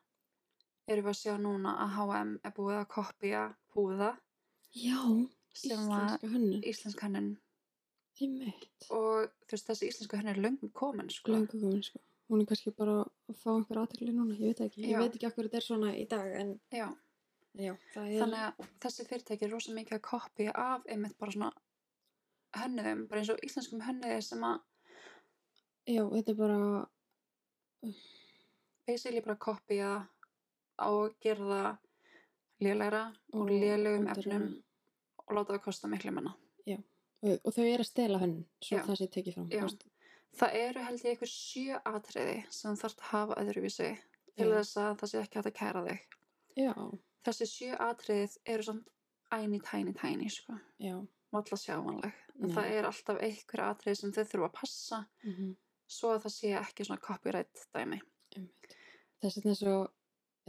Speaker 1: erum við að sjá núna að H&M er búið að kopja púða
Speaker 2: já,
Speaker 1: sem var
Speaker 2: íslenska hönnun
Speaker 1: íslensk hönnun
Speaker 2: Einmitt.
Speaker 1: og þú veist þessi íslensku henni er löngu komin sko.
Speaker 2: Lengu komin, sko. Hún er kannski bara að fá einhver aðtekli núna, ég veit það ekki. Ég
Speaker 1: Já.
Speaker 2: veit ekki okkur þetta er svona í dag, en
Speaker 1: Já,
Speaker 2: já, það er...
Speaker 1: þannig að þessi fyrirtæki er rosa mikið að koppi af einmitt bara svona hönnuðum, bara eins og íslenskum hönnuði sem að
Speaker 2: Já, þetta er bara...
Speaker 1: basically bara koppiða og gera það lélæra úr lélegum
Speaker 2: og-
Speaker 1: efnum og láta það kosta miklu minna.
Speaker 2: Og, og þau eru að stela henn, svo
Speaker 1: Já.
Speaker 2: það sé tekið fram.
Speaker 1: Já.
Speaker 2: þú veist.
Speaker 1: Það eru held ég einhver sjö atriði sem þú þarft að hafa öðruvísi til
Speaker 2: Já.
Speaker 1: þess að það sé ekki hægt að kæra þig.
Speaker 2: Já,
Speaker 1: Þessi sjö atriðið eru samt æni, tæni, tæni, sko.
Speaker 2: já.
Speaker 1: Valla sjávanleg. En
Speaker 2: Nei.
Speaker 1: það er alltaf einhver atrið sem þau þurfa að passa
Speaker 2: Mm
Speaker 1: svo að það sé ekki svona copyright dæmi.
Speaker 2: Einmitt. Þess vegna svo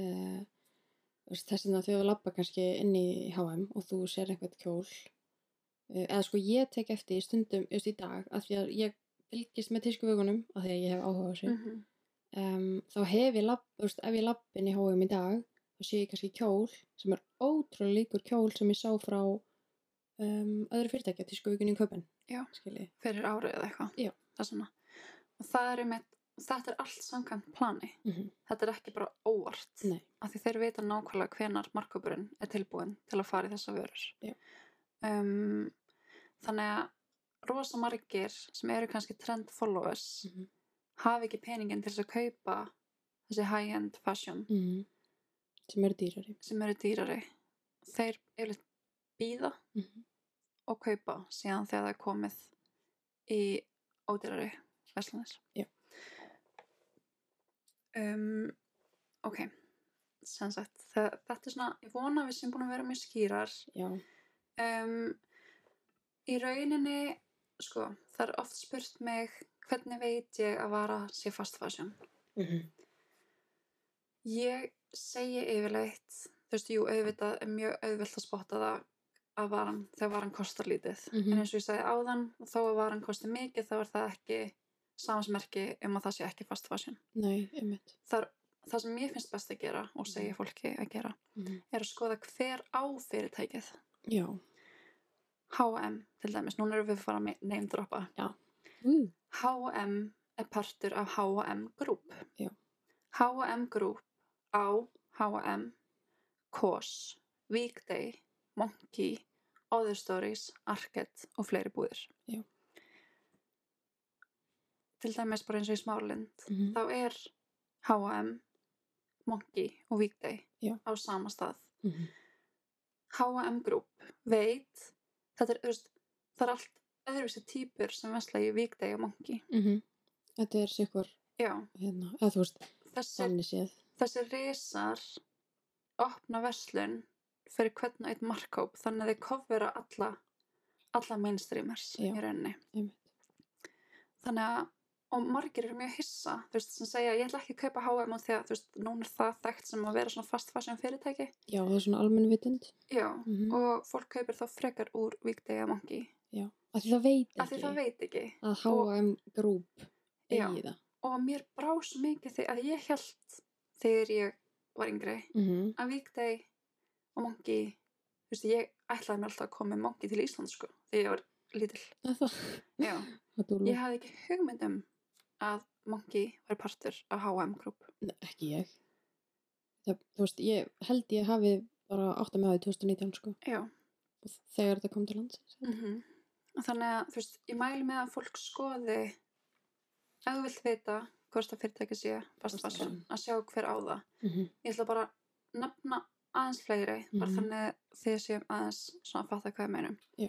Speaker 2: uh, þess vegna þegar við labba kannski inn í HM og þú sér einhvern kjól uh, eða sko ég tek eftir í stundum just í dag af því að ég fylgist með tískuvögunum af því að ég hef áhuga á þessu
Speaker 1: Mm -hmm.
Speaker 2: um, þá hef ég labb, þú veist, ef ég labb inn í HM í dag þá sé ég kannski kjól sem er ótrúlega líkur kjól sem ég sá frá um, öðru fyrirtækja tískuvögunni í köpun
Speaker 1: Já.
Speaker 2: skilji
Speaker 1: Fyrir árið eða eitthvað.
Speaker 2: Já.
Speaker 1: Það er svona. Og það er einmitt, þetta er allt samkvæmt plani.
Speaker 2: mm -hmm.
Speaker 1: Þetta er ekki bara óvart.
Speaker 2: Nei.
Speaker 1: Af því þeir vita nákvæmlega hvenar markupurinn er tilbúin til að fara í þessa vörur.
Speaker 2: Já.
Speaker 1: Um, þannig að rosa margir sem eru kannski trend followers
Speaker 2: Mhm.
Speaker 1: hafa ekki peningin til þess að kaupa þessi high-end fashion
Speaker 2: sem eru dýrari
Speaker 1: sem eru dýrari þeir yfirleitt býða
Speaker 2: mm
Speaker 1: og kaupa síðan þegar það er komið í ódýrari verslanir
Speaker 2: Já.
Speaker 1: um, ok sem sagt það, þetta er svona, ég vona að við sem búin að vera mjög skýrar
Speaker 2: já,
Speaker 1: um, í rauninni sko, það er oft spurt mig hvernig veit ég að vara sé fast fashion
Speaker 2: mm
Speaker 1: Ég segi yfirleitt, þú veist, jú, auðvitað er mjög auðvelt að spotta það að varan, þegar varan kostar lítið.
Speaker 2: Mhm.
Speaker 1: En eins og ég segi áðan, þó að varan kosti mikið, þá er það ekki samansmerki um að það sé ekki fast fashion.
Speaker 2: nei, einmitt
Speaker 1: Það, er- það sem ég finnst best að gera og segja fólki að gera
Speaker 2: mm -hmm.
Speaker 1: er að skoða hver á fyrirtækið.
Speaker 2: já
Speaker 1: H&M til dæmis, núna erum við að fara að name droppa.
Speaker 2: Mm.
Speaker 1: H&M er partur af H&M Group.
Speaker 2: Já.
Speaker 1: H&M Group á H&M, COS, Weekday, Monkey, Other Stories, Arket og fleiri búðir.
Speaker 2: Já.
Speaker 1: Til dæmis bara eins og í Smáralind.
Speaker 2: Mhm.
Speaker 1: Þá er H&M, Monkey og Weekday
Speaker 2: Já.
Speaker 1: á sama stað.
Speaker 2: Mhm.
Speaker 1: H&M Group veit, þetta er, þú veist, það er allt öðruvísi típur sem vesla í Weekday og Monkey.
Speaker 2: Mhm. Þetta er sikkur
Speaker 1: Já.
Speaker 2: hérna, eða þú veist,
Speaker 1: Þessir
Speaker 2: þannig séð
Speaker 1: þessi risar opna verslun fyrir hvern og einn markkóp þannig að þeir kofvera alla alla mainstreamers
Speaker 2: Já.
Speaker 1: í rauninni
Speaker 2: einmitt.
Speaker 1: þannig að, og margir eru mjög hissa þú veist, sem segja, ég ætla ekki að kaupa H&M út því að, þú veist, núna er það þekkt sem að vera svona fast fashion fyrirtæki
Speaker 2: Já, það er svona almenn vitund
Speaker 1: já,
Speaker 2: mm -hmm.
Speaker 1: og fólk kaupir þá frekar úr Víkdegi að mangi,
Speaker 2: Af því það veit
Speaker 1: af því það
Speaker 2: ekki
Speaker 1: veit ekki
Speaker 2: að H&M grúp
Speaker 1: Já.
Speaker 2: eigi það
Speaker 1: og mér brá svo mikið því að ég held þegar ég var yngri
Speaker 2: mm -hmm.
Speaker 1: að Víkdei og Mongi þú veist, ég ætlaði mér alltaf að koma með Mongi til Íslands sko, þegar ég var lítill
Speaker 2: Það,
Speaker 1: Já,
Speaker 2: það dúlu,
Speaker 1: ég hafði ekki hugmynd um að Mongi var partur á H&M Group
Speaker 2: Nei, ekki ég það, Þú veist, ég held ég hafi bara átt að með það í 2019 sko
Speaker 1: Já,
Speaker 2: og þegar þetta kom til landsins
Speaker 1: mm þannig að þú veist, ég mæli með að fólk skoði ef þú vilt vita hvort það fyrirtæki sé fast
Speaker 2: Fast
Speaker 1: fashion,
Speaker 2: fashion.
Speaker 1: að sjá hver á það
Speaker 2: mm -hmm.
Speaker 1: ég ætla bara að nefna aðeins fleiri bara
Speaker 2: Mhm.
Speaker 1: þannig að þið séum aðeins svona að fatta hvað ég meinum
Speaker 2: Já.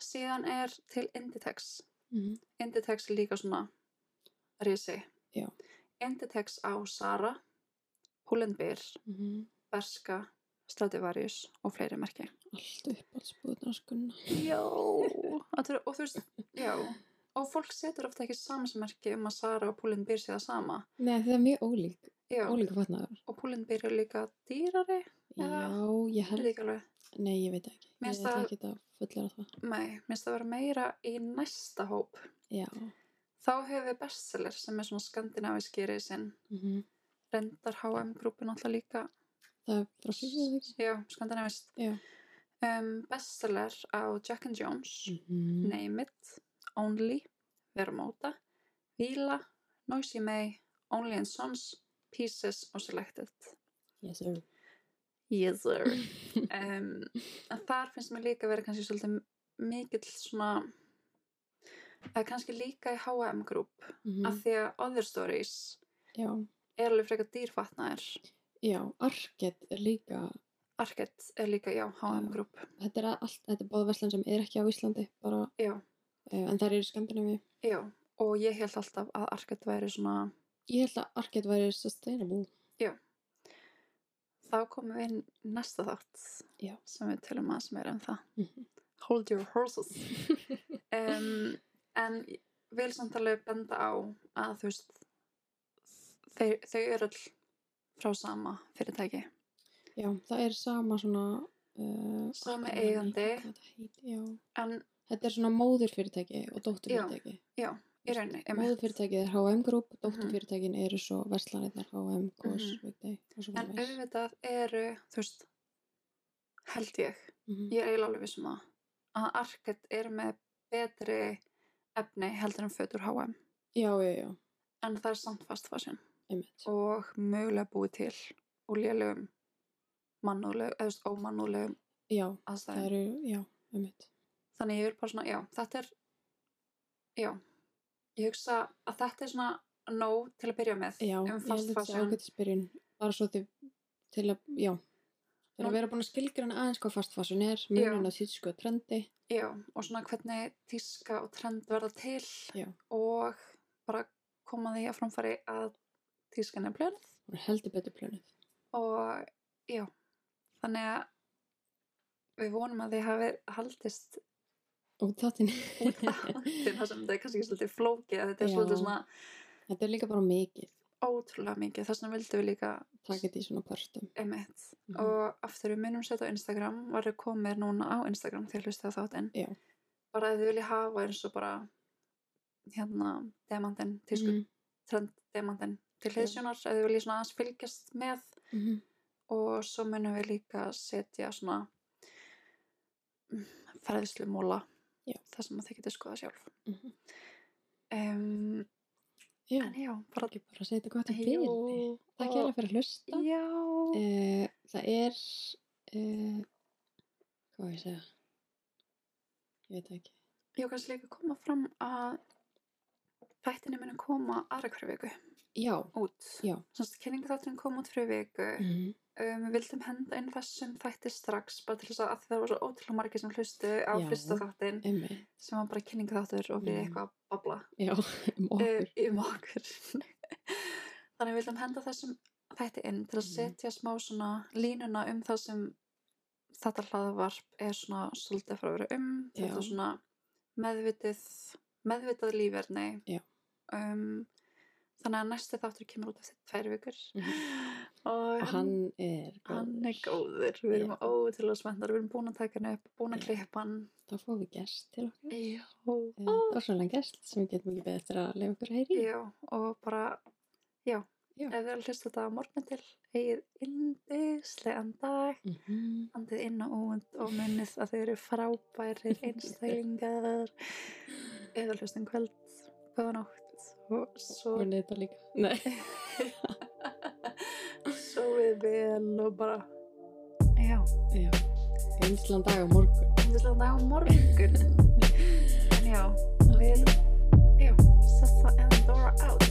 Speaker 1: síðan er til Inditex
Speaker 2: Mm
Speaker 1: mhm,
Speaker 2: -hmm.
Speaker 1: Inditex er líka svona risi.
Speaker 2: Já.
Speaker 1: Inditex á Sara, Hullenbyr,
Speaker 2: Mm
Speaker 1: mhm.
Speaker 2: -hmm.
Speaker 1: Berska, Stradivarius og fleiri merki.
Speaker 2: Allt upp alls búðnar skunna
Speaker 1: Já. og þú veist, já. Og fólk setur ofta ekki samansmerki um að Sara og Hullenbyr sé það sama.
Speaker 2: Nei, það er mjög ólík,
Speaker 1: Já.
Speaker 2: ólíka fatnaðar
Speaker 1: Og Hullenbyr er líka dýrari. Já.
Speaker 2: Já, ég
Speaker 1: Það
Speaker 2: held
Speaker 1: er ekki alveg.
Speaker 2: Nei, ég veit það ekki.
Speaker 1: Mér
Speaker 2: Ég
Speaker 1: finnst
Speaker 2: ætla
Speaker 1: það-
Speaker 2: ekki að fullera það.
Speaker 1: Nei, minnst það vera meira í næsta hóp.
Speaker 2: Já.
Speaker 1: Þá höfum við bestseller sem er svona skandinavíski risinn.
Speaker 2: Mm
Speaker 1: Mhm. Rendar H&M grúpin alltaf líka.
Speaker 2: Það er frá sig eða ekki.
Speaker 1: Já, skandinavist.
Speaker 2: Já.
Speaker 1: um, bestseller á Jack and Jones
Speaker 2: Mm -hmm.
Speaker 1: Name It og Only, Vermóta, Vila, Noisy May, Only and Sons, Pieces og Selected.
Speaker 2: Yes, sir.
Speaker 1: Yes sir. um, en þar finnst mér líka verið kannski svolítið mikill svona eða kannski líka í H&M Group af því að Other Stories
Speaker 2: Mhm. Já,
Speaker 1: er alveg frekar dýrfatnaðir
Speaker 2: já, Arket er líka,
Speaker 1: Arket er líka, já, H&M
Speaker 2: Já.
Speaker 1: Group
Speaker 2: þetta er allt, þetta er báðverslan sem er ekki á Íslandi, bara,
Speaker 1: Já,
Speaker 2: uh, en það eru skandinavíu.
Speaker 1: já, og ég held alltaf að Arket væri svona
Speaker 2: Ég held að Arket
Speaker 1: <laughs>
Speaker 2: væri sustainable.
Speaker 1: þá komum við inn í næsta þátt
Speaker 2: Já.
Speaker 1: sem við tölum aðeins meira um það
Speaker 2: Mhm.
Speaker 1: Hold your horses um, En ég vil samt alveg benda á að þú veist þeir, þau eru all frá sama fyrirtæki
Speaker 2: Já, það er sama svona... Uh,
Speaker 1: Sami
Speaker 2: ég man ekki
Speaker 1: eigandi.
Speaker 2: hvað þetta heitir, Já.
Speaker 1: en
Speaker 2: Þetta er svona móðurfyrirtæki og dótturfyrirtæki.
Speaker 1: í rauninni einmitt.
Speaker 2: Móðurfyrirtækið er H&M Group, dótturfyrirtækin eru svo verslanirnar H&M, Kors,
Speaker 1: Mhm.
Speaker 2: Vigdei og
Speaker 1: en
Speaker 2: svo framvegis.
Speaker 1: auðvitað eru þú veist held ég,
Speaker 2: Mhm.
Speaker 1: ég er eiginlega alveg vissum að að Arket er með betri efni heldur en fötur HM
Speaker 2: Já, já, já,
Speaker 1: en það er samt fast fashion
Speaker 2: einmitt.
Speaker 1: og mögulega búið til úr lélegum mannúlegum, eða þú veist, ómannúlegum
Speaker 2: Já, það
Speaker 1: aðstæðum.
Speaker 2: eru, já, einmitt.
Speaker 1: Þannig ég er bara svona, já, þetta er já, ég hugsa að þetta er svona nóg til að byrja með
Speaker 2: Já,
Speaker 1: um
Speaker 2: ég held
Speaker 1: fast
Speaker 2: að þetta
Speaker 1: fashion.
Speaker 2: ágættisbyrjun bara svo til, til að, já til
Speaker 1: Nú-
Speaker 2: að vera búin að skilgræna aðeins hvað fast fashion er munin að síðsku og trendi
Speaker 1: Já, og svona hvernig tíska og trend verða til
Speaker 2: Já.
Speaker 1: og bara koma því að framfæri að tískan er blöð
Speaker 2: hún er heldur betur plönuð
Speaker 1: og já, þannig að við vonum að þið hafi haldist
Speaker 2: og
Speaker 1: <laughs>
Speaker 2: þáttin <laughs>
Speaker 1: út af þáttin þar sem þetta er kannski svolítið flókið þetta er
Speaker 2: Já.
Speaker 1: svolítið svona
Speaker 2: þetta er líka bara mikið
Speaker 1: ótrúlega mikið þess vegna vildum við líka
Speaker 2: takk þetta í svona pörtum
Speaker 1: emitt
Speaker 2: Mhm.
Speaker 1: og aftur við minnum sér þetta á Instagram varum komið núna á Instagram þegar hlustið á þáttinn
Speaker 2: Já.
Speaker 1: bara ef þið vilja hafa eins og bara hérna demandin tísku
Speaker 2: Mhm,
Speaker 1: trend demandin til
Speaker 2: Já.
Speaker 1: hliðsjónar ef þið vilja svona aðeins fylgjast með
Speaker 2: mhm.
Speaker 1: og svo munum við líka setja svona ferðislumóla
Speaker 2: Já.
Speaker 1: það sem að þið getur skoða sjálf
Speaker 2: Mhm.
Speaker 1: um,
Speaker 2: já,
Speaker 1: en já, bara
Speaker 2: ekki bara að segja þetta gott um
Speaker 1: Jú,
Speaker 2: byrni takk
Speaker 1: og-
Speaker 2: hérlega fyrir að hlusta
Speaker 1: Já,
Speaker 2: Eh, það er eh, hvað var ég að segja ég veit það ekki
Speaker 1: ég var kannski líka að koma fram að þættinni minn að koma aðra hverju viku
Speaker 2: já,
Speaker 1: út.
Speaker 2: Já.
Speaker 1: Svona kynningaþátturinn kom út fyrir viku.
Speaker 2: mhm,
Speaker 1: Um, við vildum henda inn þessum þætti strax bara til þess að, að það var svo ótrúlega margir sem hlustu á
Speaker 2: Já.
Speaker 1: fyrsta þáttin
Speaker 2: emmi
Speaker 1: sem var bara kynningaþáttur og við
Speaker 2: Mm.
Speaker 1: eitthvað að babla
Speaker 2: já, <laughs> um okkur
Speaker 1: uh, um okkur. <laughs> Þannig við vildum henda þessum þætti inn til að
Speaker 2: Mhm.
Speaker 1: setja smá svona línuna um það sem þetta hlaðvarp er svona svolítið að fara að vera um. Þetta
Speaker 2: Já.
Speaker 1: er svona meðvitið, meðvitað lífverðni.
Speaker 2: Já.
Speaker 1: Um, þannig að næsti þáttur kemur út eftir tvær vikur. <laughs> Og
Speaker 2: Mhm. hann er góður.
Speaker 1: hann er góður. Við erum
Speaker 2: Já.
Speaker 1: ótrúlega spenntar. Við erum búin að taka hann upp, búin að
Speaker 2: Já.
Speaker 1: klippa hann.
Speaker 2: þá fáum við gest til okkar Eh,
Speaker 1: Já.
Speaker 2: það var svolítið gest sem við getum ekki beðið eftir að leiða okkur að heyri
Speaker 1: Já, og bara, já,
Speaker 2: Já.
Speaker 1: ef þið er að hlusta þetta á morgun til, eigið indislegan dag,
Speaker 2: mm -hmm.
Speaker 1: andið inn og út og munnið að þið eru frábærir einstaklingar, eða hlustum kvöld, góða nótt og svo,
Speaker 2: og neyta líka Nei.
Speaker 1: svo við vel og bara, já,
Speaker 2: já. einslan dag á morgun
Speaker 1: indislegan dag á morgun, en já, við, já, Sessa and Dora out.